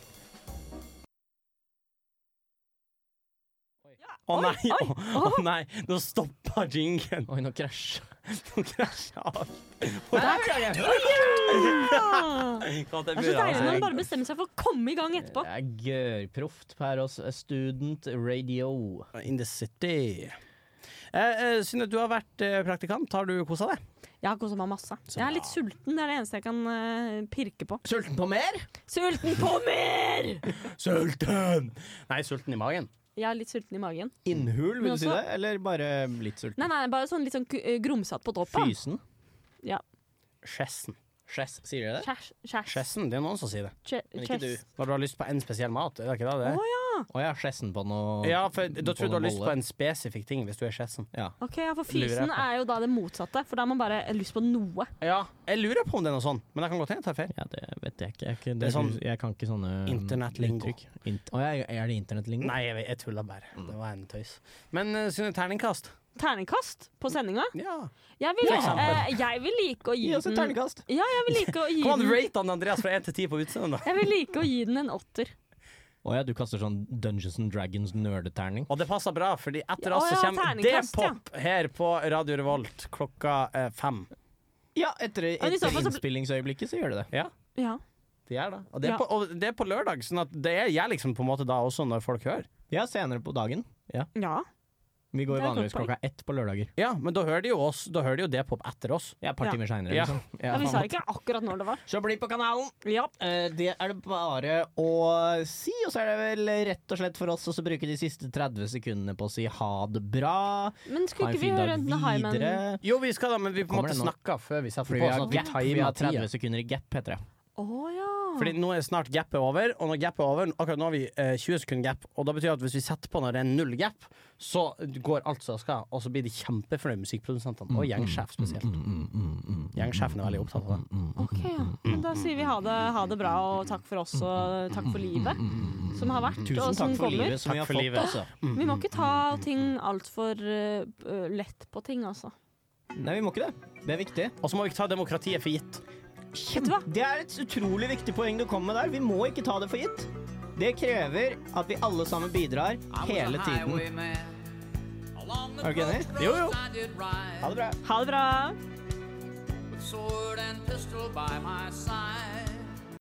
S3: Å nei, å å nei, nå stoppa jingen.
S2: Oi, nå krasja
S3: Nå krasja alt.
S4: Ja!
S3: Kom
S4: Det er så
S3: til bordet,
S4: deilig når
S3: altså.
S4: man bare bestemmer seg for å komme i gang etterpå.
S2: Det er gørrproft her hos eh, Student Radio.
S3: In the city. Eh, eh, Synne, du har vært eh, praktikant. Har du kosa deg?
S4: Jeg har kosa meg masse. Jeg er litt sulten, det er det eneste jeg kan eh, pirke på.
S2: Sulten på mer?
S4: Sulten på mer!
S3: Sulten! Nei, sulten i magen.
S4: Jeg er litt sulten i magen.
S2: Innhul, vil
S4: Men
S2: du si
S4: også-
S2: det? Eller bare litt sulten?
S4: Nei, nei, bare sånn litt sånn k- eh, grumsete på toppen.
S2: Fysen?
S3: Skjessen.
S2: Chess, sier dere det?
S4: Kjærs- kjærs-
S3: Skjessen, det er noen som sier det.
S4: kjæ-
S2: Men ikke
S4: kjærs.
S3: Når du har lyst på en spesiell mat, er det ikke det? det?
S4: Å,
S3: er?
S2: Å ja, chessen på noe
S3: Ja, for da tror jeg du har
S2: noen
S3: lyst på
S2: boller.
S3: en spesifikk ting hvis du er skjessen.
S4: Ok, ja, For
S3: Lurer jeg
S4: fysen
S3: på.
S4: er jo da det motsatte, for da har man bare lyst på noe.
S3: Ja, jeg lurer på om det er noe sånn, men jeg kan godt hende jeg tar feil.
S2: Ja, det vet jeg ikke. Jeg, er ikke- det,
S3: Det er sånn
S2: jeg kan ikke sånne um,
S3: internettlingo.
S2: uttrykk. Int Å ja, er det internettlingo?
S3: Nei, jeg, jeg tuller bare. Det var en tøys. Men uh, Synne, terningkast?
S4: Terningkast på sendinga.
S3: Ja.
S4: Jeg vil,
S3: For eksempel.
S4: eh, jeg vil like å gi
S2: Gi oss et
S4: den
S2: terningkast!
S4: Ja, jeg vil like å gi
S3: Kom an,
S4: den
S3: rate han Andreas fra 1 til 10 på utseendet, da.
S4: Jeg vil like å gi den en åtter.
S2: Å ja, du kaster sånn Dungeons and Dragons nerdeterning.
S3: Og det passer bra, fordi etter
S4: Ja,
S3: oss så
S4: å ja,
S3: kommer
S4: terningkast, ja.
S3: D-pop her på Radio Revolt klokka eh, fem.
S2: Ja, etter,
S4: men i så
S2: etter
S4: fall så bl-
S2: innspillingsøyeblikket så gjør det det.
S4: Ja.
S3: Det er det. Og det er,
S4: Ja.
S3: på, og det er på lørdag, sånn at det er jeg liksom på en måte da også, når folk hører.
S2: Ja, senere på dagen.
S4: ja.
S2: Vi går
S4: Det er et
S2: vanligvis
S4: godt
S2: klokka ett på lørdager.
S3: Ja, men da hører de jo oss, da hører de jo D-pop etter oss.
S2: Ja, et par
S4: Ja.
S2: timer seinere,
S3: Ja.
S2: liksom.
S4: ja vi sa ikke akkurat når det var.
S2: Så bli på kanalen!
S4: Ja.
S2: Eh, det er det bare å si, og så er det vel rett og slett for oss å så bruke de siste 30 sekundene på å si ha det bra.
S4: Men
S2: Ha
S4: skulle
S2: en
S4: ikke vi
S2: fin
S4: høre
S2: dag
S4: den Highman
S2: videre.
S3: Jo, vi skal da, men vi på en
S2: Kommer
S3: måte
S2: det nå?
S3: snakker før vi setter
S2: Fordi
S3: på.
S2: vi har,
S3: sånn at vi
S2: gap, vi
S3: timer
S2: har
S3: tida.
S2: 30 sekunder i gap, heter det.
S4: Å ja.
S3: Fordi nå er snart gapet over, og når gapet er over Akkurat nå har vi eh, 20 sekunder gap, og det betyr at hvis vi setter på når det er null gap, så går alt som det skal, og så blir de kjempefornøyde
S2: Mm,
S3: musikkprodusentene, og gjengsjef spesielt. Gjengsjefen er veldig opptatt
S2: mm,
S3: av det.
S4: Ok, ja. Men da sier vi ha det, ha det bra, og takk for oss, og takk for livet som har vært,
S2: Tusen
S4: og som
S2: takk for
S4: kommer.
S2: livet som
S3: Takk
S2: vi har
S3: for
S2: fått.
S3: livet.
S2: Altså.
S4: Vi må ikke ta ting altfor uh, lett på ting, altså.
S2: Nei, vi må ikke det. Det er viktig.
S3: Og så må vi ikke ta demokratiet for gitt.
S4: Vet du hva?
S2: Det er et utrolig viktig poeng du kom med der. Vi må ikke ta det for gitt. Det krever at vi alle sammen bidrar hele tiden. Er du ikke enig?
S3: Jo, jo.
S2: Ha det bra.
S4: Ha det bra!
S10: Sword and pistol by my side.